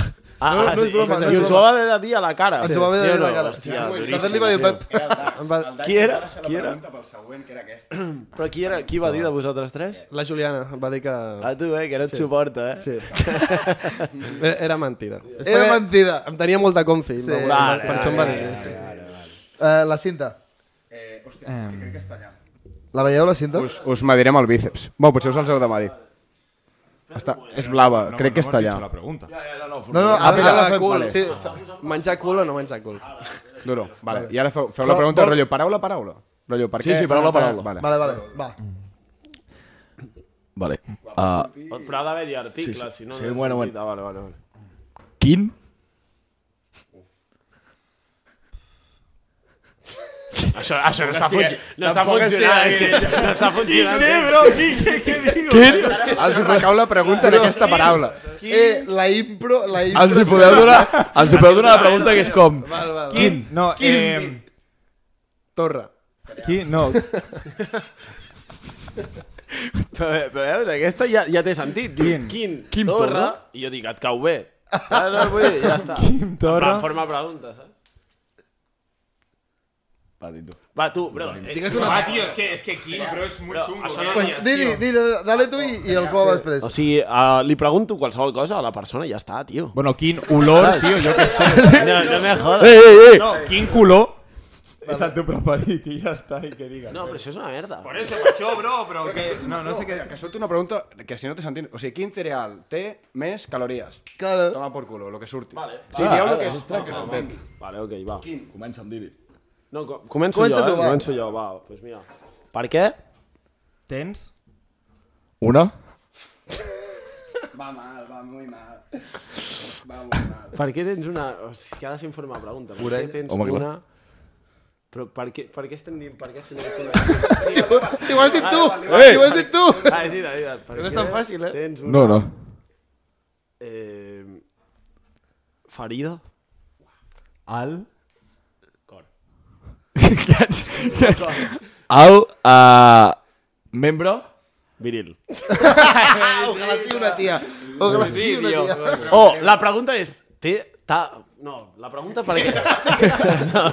S7: Ah,
S5: no, no és broma, no
S7: I
S5: és
S7: us ho
S5: broma.
S7: va haver de dir a la cara.
S5: Ens ho va haver de
S7: Sí o
S5: dir a la
S7: no?
S5: cara.
S7: Hòstia,
S5: De fet, li va dir,
S7: duríssim.
S5: Pep,
S8: Em va,
S7: Qui era? Qui era? Però qui era? Qui va dir de vosaltres tres?
S8: la Juliana em va dir que...
S7: A tu, eh, que no et suporta, eh?
S8: Sí. Era- Era mentida. És
S5: era
S8: perquè
S5: mentida.
S8: Em tenia molta confi.
S5: Sí.
S8: Sí. Per
S7: Vale,
S8: per això em va dir.
S5: Eh, la cinta. La veieu, la cinta?
S2: Us, us medirem el bíceps. Bé, potser us els heu de medir. Està, és blava,
S6: no,
S2: crec que
S6: no
S2: està
S6: hemos
S2: allà.
S6: dicho La pregunta.
S5: No, no, ara,
S2: mira,
S5: ara la
S2: la
S5: fem.
S2: cul.
S5: Sí,
S8: Menjar cul o no menjar cul?
S2: Duro, vale. I ara feu, feu la pregunta, rotllo, paraula, paraula. Rotllo, per
S1: Sí,
S2: què?
S1: sí, paraula, paraula.
S2: Vale.
S5: vale, vale, va.
S1: Vale. Uh,
S7: Però ha d'haver-hi articles, si no...
S1: Sí,
S7: no és
S1: bueno, bueno.
S7: mentida. Vale, vale, vale.
S1: quin?
S7: Això, ah, això no està, funci no està funcionant, és que no està funcionant.
S1: Quin?
S2: Els recau la pregunta en aquesta paraula.
S5: Eh, la impro, la impro...
S1: Els hi podeu donar, els hi podeu donar la pregunta que és com...
S6: ¿Quién? No, eh,
S8: Torre.
S6: ¿quién? No,
S7: Però, eh, però veus, aquesta ja, ja té sentit. Quin? Quin, Quin Torra? I jo dic, et cau bé. Ah, no, vull dir, ja està. Quin Torra? En forma de pregunta, saps?
S1: Va, dit tu.
S7: Va, tu, bro. Digues una...
S6: Ah, tío, es que, es que Kim, bro, es muy chungo. ¿eh? tío.
S5: Pues, di, di, di, dale tu i, i el Pau després.
S7: O sigui, uh, li pregunto qualsevol cosa a la persona i ja està, tio.
S9: Bueno, King, olor, tío, yo qué sé.
S7: No, no me jodes.
S1: Ei, ei, ei!
S9: No, King culó. Es al tu proparit y ya está, y que diga.
S7: No, però això és una merda.
S6: Por eso, macho, bro, bro. Que, no, no sé qué.
S2: Que surti una pregunta que si no te s'entén. O sigui, quin cereal té més calories?
S5: Claro.
S2: Toma por culo, lo que surti. Vale.
S1: Sí, dieu el que és.
S7: Vale, ok, va.
S1: Comença amb dir
S7: No, co- començo
S5: Comença
S7: jo,
S5: tu,
S7: eh?
S5: va.
S7: Començo jo, va. Pues mira. Per què?
S9: Tens.
S1: Una?
S2: Va mal, va muy mal. Va muy mal.
S7: Per què tens una... O sigui, que ha de ser en forma de pregunta. Per què tens
S1: Home, clar.
S7: una... Però per què, per què estem dient... Per què estem dient...
S5: Si, ho- si ho has dit tu!
S1: Ei!
S5: Si ho has dit tu!
S7: Ah, és veritat, és veritat. Per
S8: No és
S7: què
S8: tan fàcil, eh?
S7: Tens una...
S1: No, no.
S7: Eh, ferida?
S9: Al.
S1: El uh, membre
S7: Viril.
S5: Ojalá sigui una tia. Ojalá sigui una tia.
S7: Oh, la pregunta és... Té... Ta... No, la pregunta per què... No,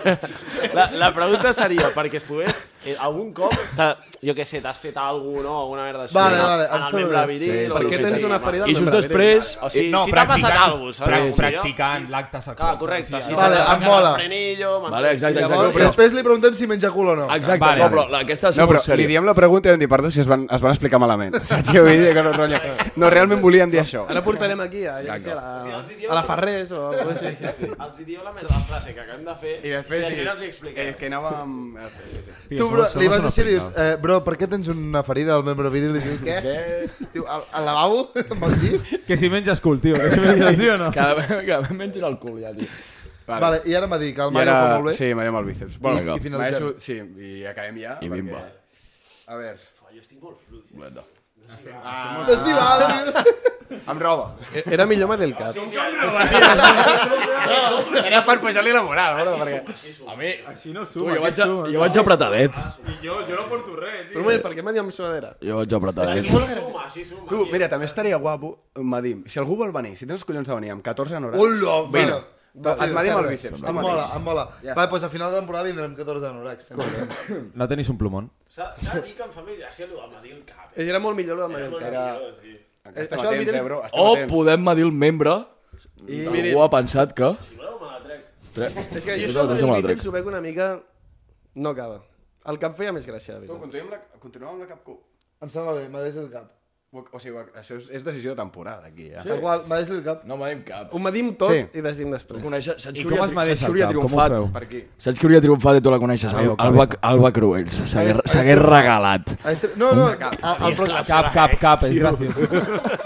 S7: la, la pregunta seria, perquè es pogués... Eh, algun cop, t'ha- jo què sé, t'has fet alguna no? Alguna merda així.
S5: Vale, vale, em
S7: En el
S5: sembla
S7: membre
S5: bé.
S7: viril...
S5: Per què tens una ferida
S1: i just després...
S7: O sigui, si t'ha passat alguna cosa, saps?
S9: Practicant l'acte sexual.
S7: Ah, correcte. Si
S5: Vale,
S7: s'ha de
S5: em
S7: trencar
S5: mola.
S7: el frenillo...
S1: Vale, exacte, exacte.
S5: Llavors, després li preguntem si menja cul o no.
S1: Exacte,
S9: Vale,
S1: no,
S9: vale.
S1: però la- aquesta
S2: No, però li
S1: sèria.
S2: diem la pregunta i vam dir, perdó, si es van, es van explicar malament. Saps què vull dir? Que no, rotllo. no, realment volíem dir això.
S8: Ara portarem aquí a, ja, sé, a, la, a la Ferrés o alguna cosa així.
S7: Els hi dieu la merda frase que acabem de fer i després, i després els hi expliquem.
S2: que anàvem...
S5: Tu, bro, li vas dir i dius, eh, bro, per què tens una ferida al membre viril? I diu, què? Diu, al, al lavabo? M'has vist?
S9: Que si menges cul, tio. Que si menges sí o no.
S1: Cada, cada vegada menys el cul, ja, tio.
S5: Vale. i ara m'ha dit que el
S2: I
S5: Mario
S2: ara...
S5: fa molt bé.
S2: Sí, m'ha el bíceps. Bueno,
S1: Vinga.
S2: I, finalitzem. Maia, sí, i acabem ja.
S1: I bimba.
S2: A veure,
S5: No s'hi Doncs va, tio.
S2: amb roba.
S8: Era millor Madel Cap.
S2: Era per pujar-li la moral, no? Perquè...
S6: Así no
S1: Tu,
S6: suma.
S1: jo vaig, a, jo vaig apretadet.
S6: Y yo, yo lo por tu red,
S8: Però un moment, per què m'ha dit amb suadera?
S1: Jo vaig apretadet.
S7: Suma, sí, suma.
S2: Tu, mira, també estaria guapo, Madim, si algú vol venir, si tens els collons de venir amb 14 hores...
S5: Hola, mira. Et
S2: manim el bíceps, tu
S5: Em
S2: mateix.
S5: mola, em mola. Ja. Va, doncs a final de temporada vindrem 14 anoràcs. Correcte.
S11: No tenéis un plumón.
S7: S'ha s'ha de dir que em fa més gràcia el de medir el cap. eh?
S8: Era molt millor el de
S7: Era molt
S8: Manel.
S7: millor, sí.
S2: Encara
S8: això
S2: estem
S8: el
S2: a temps,
S8: vidre-
S2: eh, bro? Estem a
S1: O
S2: temps.
S1: podem medir el membre. I... Algú ha pensat que...
S7: Si voleu, me la trec.
S8: És que jo
S1: Jo
S8: això
S1: també
S8: del
S1: me la
S8: bíceps
S1: trec.
S8: ho veig una mica... No acaba. El cap feia més gràcia, de veritat.
S2: Continuem, la, continuem amb la cap cu.
S5: Em sembla bé, m'ha deixat el cap.
S2: O, o sigui, això és, és decisió de temporada, aquí, ja.
S5: Sí. Tal qual, m'ha deixat el cap.
S1: No medim cap.
S8: Ho medim tot
S2: Sí.
S8: i decidim després.
S1: Coneixer, saps
S11: I
S1: que
S11: com
S1: hauria,
S11: es
S1: tri-
S11: medeix
S1: saps que
S11: el
S1: hauria
S11: cap? Com ho
S1: triomfat?
S11: feu?
S2: Per aquí.
S1: Saps que hauria triomfat i tu la coneixes?
S11: Amigo,
S1: Al- Alba,
S11: cabeza.
S1: Alba Cruells. S'hagués
S5: Aquest-
S1: s'hagués regalat.
S5: A Este... No, no, a, al pròxim...
S11: Cap, cap, cap, és gracioso.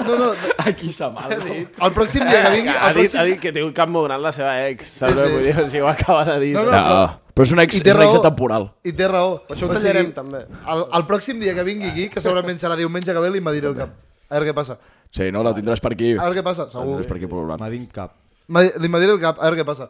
S5: No, no,
S1: Aquí s'amaga.
S5: el pròxim dia que vingui...
S7: Ha
S5: El
S7: dit,
S5: pròxim...
S7: ha dit que té un cap molt gran la seva ex. Saps sí,
S5: sí.
S7: sí. Vull dir, o sigui, ho acaba de dir.
S5: No, no,
S1: No, Ah, però és un ex,
S5: I té
S1: és un ex
S5: raó.
S1: temporal.
S5: I té raó.
S8: Això ho
S5: O sigui,
S8: tallarem, també.
S5: El, el pròxim dia que vingui aquí, que segurament serà diumenge que ve, li mediré el cap. A veure què passa.
S1: Sí, no, la tindràs per aquí.
S5: A veure què passa, segur.
S1: Tindràs per aquí pol·lulant.
S11: Madin cap.
S5: Me- Li mediré el cap, a veure què passa.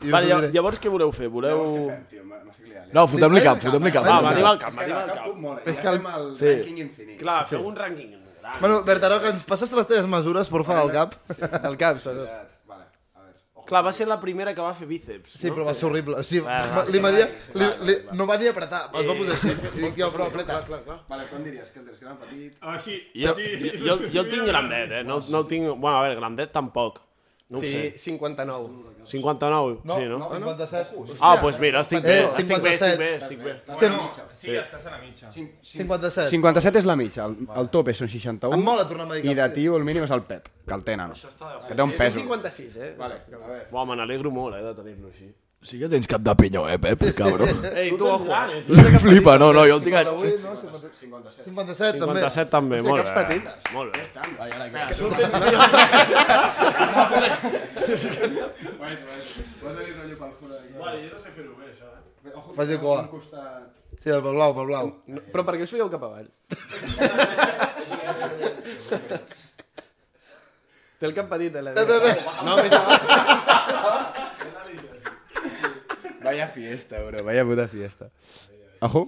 S5: I us
S7: Vale,
S5: ho
S7: llav-
S5: diré.
S7: llavors què voleu fer? Voleu...
S2: Tio, m'estic liant.
S1: No, fotem-li cap, fotem-li cap.
S7: Va,
S1: fotem-li
S7: m'anima al cap, eh?
S2: És que
S7: m'anima
S2: la
S7: al
S2: cap
S7: cap.
S2: cu mola. És que el, el sí. ranking infinit.
S7: Clar, feu un rànquing gran.
S5: Bueno, Bertaró, que ens passes les teves mesures, porfa, del cap.
S8: El cap, saps?
S2: Vale, a veure.
S7: Clar, va ser la primera que va fer bíceps.
S5: Sí,
S7: no?
S5: però va ser horrible. O sigui,
S7: Va, va,
S5: li
S7: sí,
S5: media,
S7: va,
S5: li,
S7: va, Eh.
S5: li, no va ni apretar, es va posar així. I dic, tio, però apreta.
S2: Vale, com diries que el tens gran petit?
S6: Així,
S7: Jo, jo, jo el tinc grandet, eh? No, no el tinc... Bueno, a veure, grandet tampoc. No ho
S8: Sí,
S7: sé.
S8: 59.
S7: 59?
S5: No,
S7: sí, no?
S5: no, 57.
S7: Ah, doncs pues mira, estic bé,
S5: Eh,
S7: estic bé, estic bé,
S5: 57.
S7: estic bé.
S5: Estem,
S6: sí, estàs a la mitja.
S5: 57.
S2: 57 és la mitja, el, el tope són 61.
S5: Em mola tornar a medicar.
S2: I de tio el mínim és el Pep, que el tenen. Que té un
S8: És
S2: peso.
S8: 56, eh? Vale.
S7: Buah, me n'alegro molt, eh, de tenir-lo així.
S1: Sí que tens cap de pinyó, eh, Pep, cabró.
S7: Ei, tu, ojo. eh, tio.
S1: Flipa, no, no, jo el tinc... a-
S5: 58, no? 57. 57, també.
S7: 57 també, molt bé. Molt bé.
S5: Faci cua. Sí, el blau, pel blau.
S8: No, però per què us fèieu cap avall? Té el cap petit, eh? la
S5: Bé, bé.
S8: No, més avall.
S2: Vaya fiesta, bro, vaya puta fiesta. Ajú.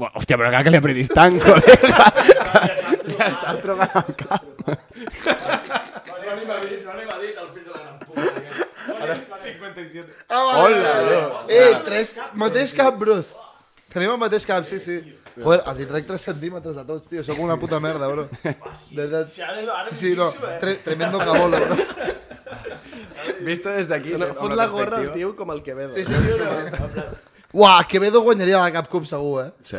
S2: Bueno, hòstia, però acá que le apretís tan, joder.
S5: Ah, vale, Hola, Eh, tres... Mateix cap, bros. Tenim el mateix cap, sí, sí. Joder, els hi trec 3 centímetres a tots, tio. Sóc una puta merda, bro. De veritat. Sí, sí, no. Tre tremendo cabola, bro.
S2: Visto desde aquí, ¿eh?
S8: No, fot la gorra al tio com el doncs. Quevedo.
S5: Sí, sí, sí. Uah, Quevedo guanyaria la Cap Cup segur, eh?
S1: Sí.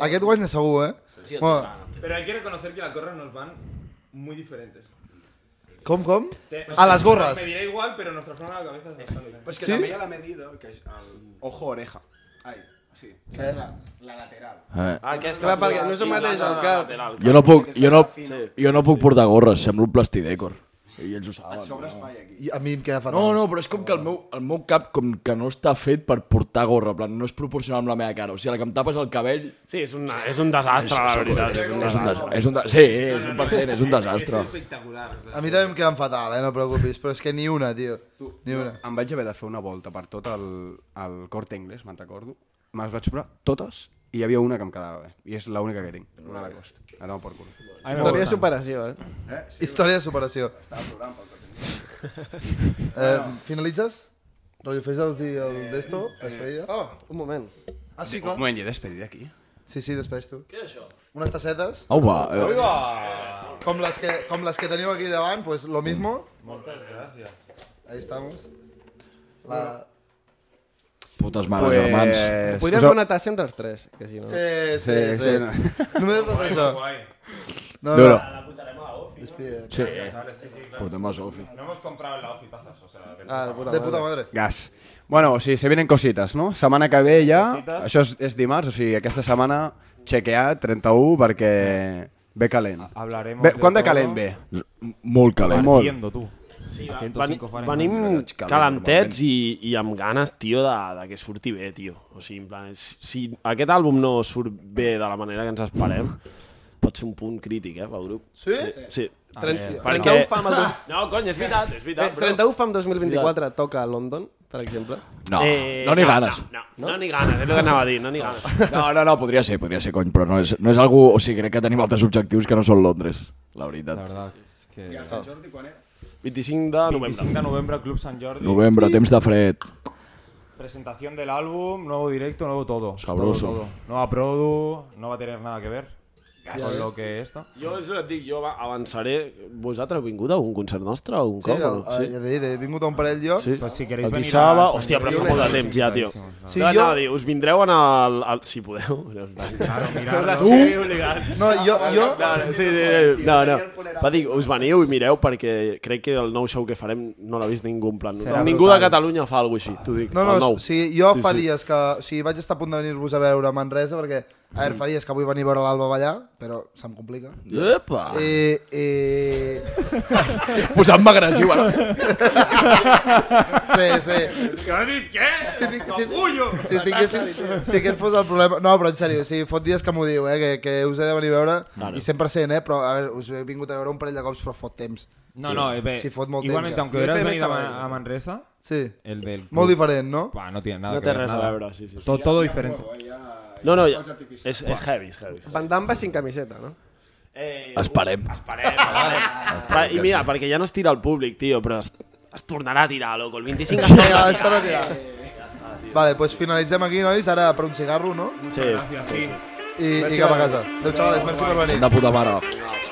S5: Aquest guanya segur, eh? Bueno,
S6: Pero hay que reconocer que las gorras nos van muy diferentes.
S5: com, com?
S6: Te-
S5: A las gorras.
S6: Me diré igual, pero nuestra forma de la cabeza es bastante diferente.
S2: Pues que
S5: ¿Sí?
S2: també hi ha la medida, que és el ojo-oreja. Ai, sí. Que és la, la lateral.
S1: Eh,
S7: Ah, Aquesta,
S8: Clar, perquè no és el mateix el cap.
S1: jo no puc, jo no, jo no puc portar gorres, semblo un plastidecor. I ells ho saben.
S2: Sobre espai aquí.
S5: I a mi em queda fatal.
S1: No, no, però és com que el meu, el meu cap com que no està fet per portar gorra, en plan, no és proporcional amb la meva cara. O sigui, la que em tapes el cabell...
S7: Sí, és, una, és un desastre, la veritat.
S1: És un desastre. És un de... Sí, és un percent, és un desastre.
S6: espectacular.
S5: A mi també em queden fatal, eh? No preocupis. Però és que ni una, tio. Ni una.
S2: Em vaig haver de fer una volta per tot el, el cort anglès, me'n recordo. Me les vaig provar totes i hi havia una que em quedava bé. I és l'única que tinc, una de cost. A tomar per cul.
S11: Ah,
S8: Història de superació, eh?
S5: Història de superació. Eh, finalitzes? Rollo, fes els i el d'esto, despedida.
S8: Oh, un moment.
S5: Eh, Ah, sí,
S2: Un
S5: com?
S2: moment, he despedit aquí.
S5: Sí, sí, després tu. Què és això? Unes tassetes,
S1: Au, va. eh,
S5: com les que, com les que teniu aquí davant, pues lo mismo. Moltes gràcies. Ahí estamos. La...
S1: Putes mares, germans.
S8: Podríem
S2: us-
S8: fer una tassa entre els tres, que si no...
S5: Sí, sí,
S2: Sí,
S5: sí.
S2: sí, no.
S5: Només per això. No,
S2: Duro.
S5: Despide.
S1: Sí,
S6: Eh,
S1: portem a Sofi.
S6: No hemos comprado en la ofi tazas, o sea, de-
S8: Ah, de puta
S5: De puta
S8: madre.
S5: madre.
S2: Gas. Bueno, o sigui, se vienen cositas, no? Setmana que ve ja... Això és, és dimarts, o sigui, aquesta setmana chequear 31 perquè ve calent.
S11: Hablaremos
S2: Ve,
S11: de
S2: quan de
S11: todo.
S2: calent ve?
S1: Molt calent.
S2: Molt.
S11: Entiendo, tú. Sí, a 105 Fahrenheit.
S7: venim calentets i, i amb ganes, tio, de, de que surti bé, tio. O sigui, en plan, si aquest àlbum no surt bé de la manera que ens esperem, pot ser un punt crític, eh, pel grup.
S5: Sí? Ah.
S7: Sí.
S8: Tren-
S7: Perquè...
S8: 31 fam el dos...
S7: No, cony, és veritat, és
S8: Eh,
S7: veritat. bro.
S8: 31 fam 2024 toca a London, per exemple.
S1: No,
S11: Eh,
S1: no n'hi
S11: ah,
S1: ganes.
S7: Eh, No, no, no n'hi ganes, és el que anava a dir, no n'hi ganes.
S1: No, no, no, podria ser, podria ser, cony, però no és, no és algú... O sigui, crec que tenim altres objectius que no són Londres, la veritat.
S11: La verdad, es
S6: Que...
S7: 25 de novembre.
S6: 25 de novembre, Club Sant Jordi.
S2: Novembre, temps de fred.
S6: Presentación del álbum, nuevo directo, nuevo todo.
S2: Sabroso.
S6: Todo, todo. Nueva produ, no va a tener nada que ver con lo que esto.
S7: Jo és el que et dic, jo va- avançaré. Vosaltres heu vingut a un concert nostre algun cop? o no?
S5: Sí, el- eh, ja t'he dit, he vingut a un parell jo. Sí.
S6: Pues si queréis
S7: Aquí
S6: venir
S7: Saba...
S6: a Sant
S7: Hòstia, però
S6: Jordi,
S7: fa molt de temps ja, tio.
S5: Sí,
S7: Sí, no,
S5: jo-
S7: jo... no, diu, us vindreu en el... el si podeu. Claro,
S6: mirar-lo.
S5: No, jo, jo,
S7: No, no, sí, sí, sí, no, no. Va dir, us veniu i mireu perquè crec que el nou show que farem no l'ha vist ningú en plan.
S6: Serà
S7: ningú
S6: brutal.
S7: de Catalunya fa alguna cosa així, t'ho dic.
S5: no,
S7: el
S5: no,
S7: nou.
S5: o sigui, jo fa dies que... O sigui, vaig estar a punt de venir-vos a veure a Manresa perquè, a veure, fa dies que vull venir a veure l'Alba ballar, però se'm complica.
S2: Epa!
S7: Ah.
S5: Eh, eh...
S2: Posant-me agressiu, ara.
S5: Sí, sí. Si, ti- si, si, tinguéssim, si aquest fos el problema... No, però en sèrio, sí, fot dies que m'ho diu, eh, que, que us he de venir a veure, i sempre sent, eh, però a veure, us he vingut a veure un parell de cops, però fot temps.
S6: No, no, eh, ve-
S5: Sí, fot molt temps,
S6: igualmente,
S5: ja.
S6: aunque
S8: Yo
S6: hubieras
S8: FM
S6: venido a,
S8: Sabadell.
S6: Ma- a Manresa,
S5: Sí,
S6: el del.
S5: molt diferent, no?
S6: Buah, no tiene nada
S7: No
S6: que
S7: té
S6: ver.
S7: res a
S6: nada.
S7: veure, sí, sí.
S6: To- todo diferente.
S7: No, no, ja, és, és heavy, és heavy.
S8: Van Damme va sin camiseta, no?
S7: Eh,
S2: Esperem.
S7: Esperem, esperem. I mira, perquè ja no es tira al públic, tio, però es, es tornarà a tirar, loco. El 25 es torna
S5: Vinga,
S7: a tirar.
S5: està retirat. Vale, doncs pues finalitzem aquí, nois, ara per un cigarro, no?
S7: Sí, sí, sí.
S5: I, i cap a casa. Adéu, xavales, merci per venir.
S2: De puta mare.
S7: Vinga, va.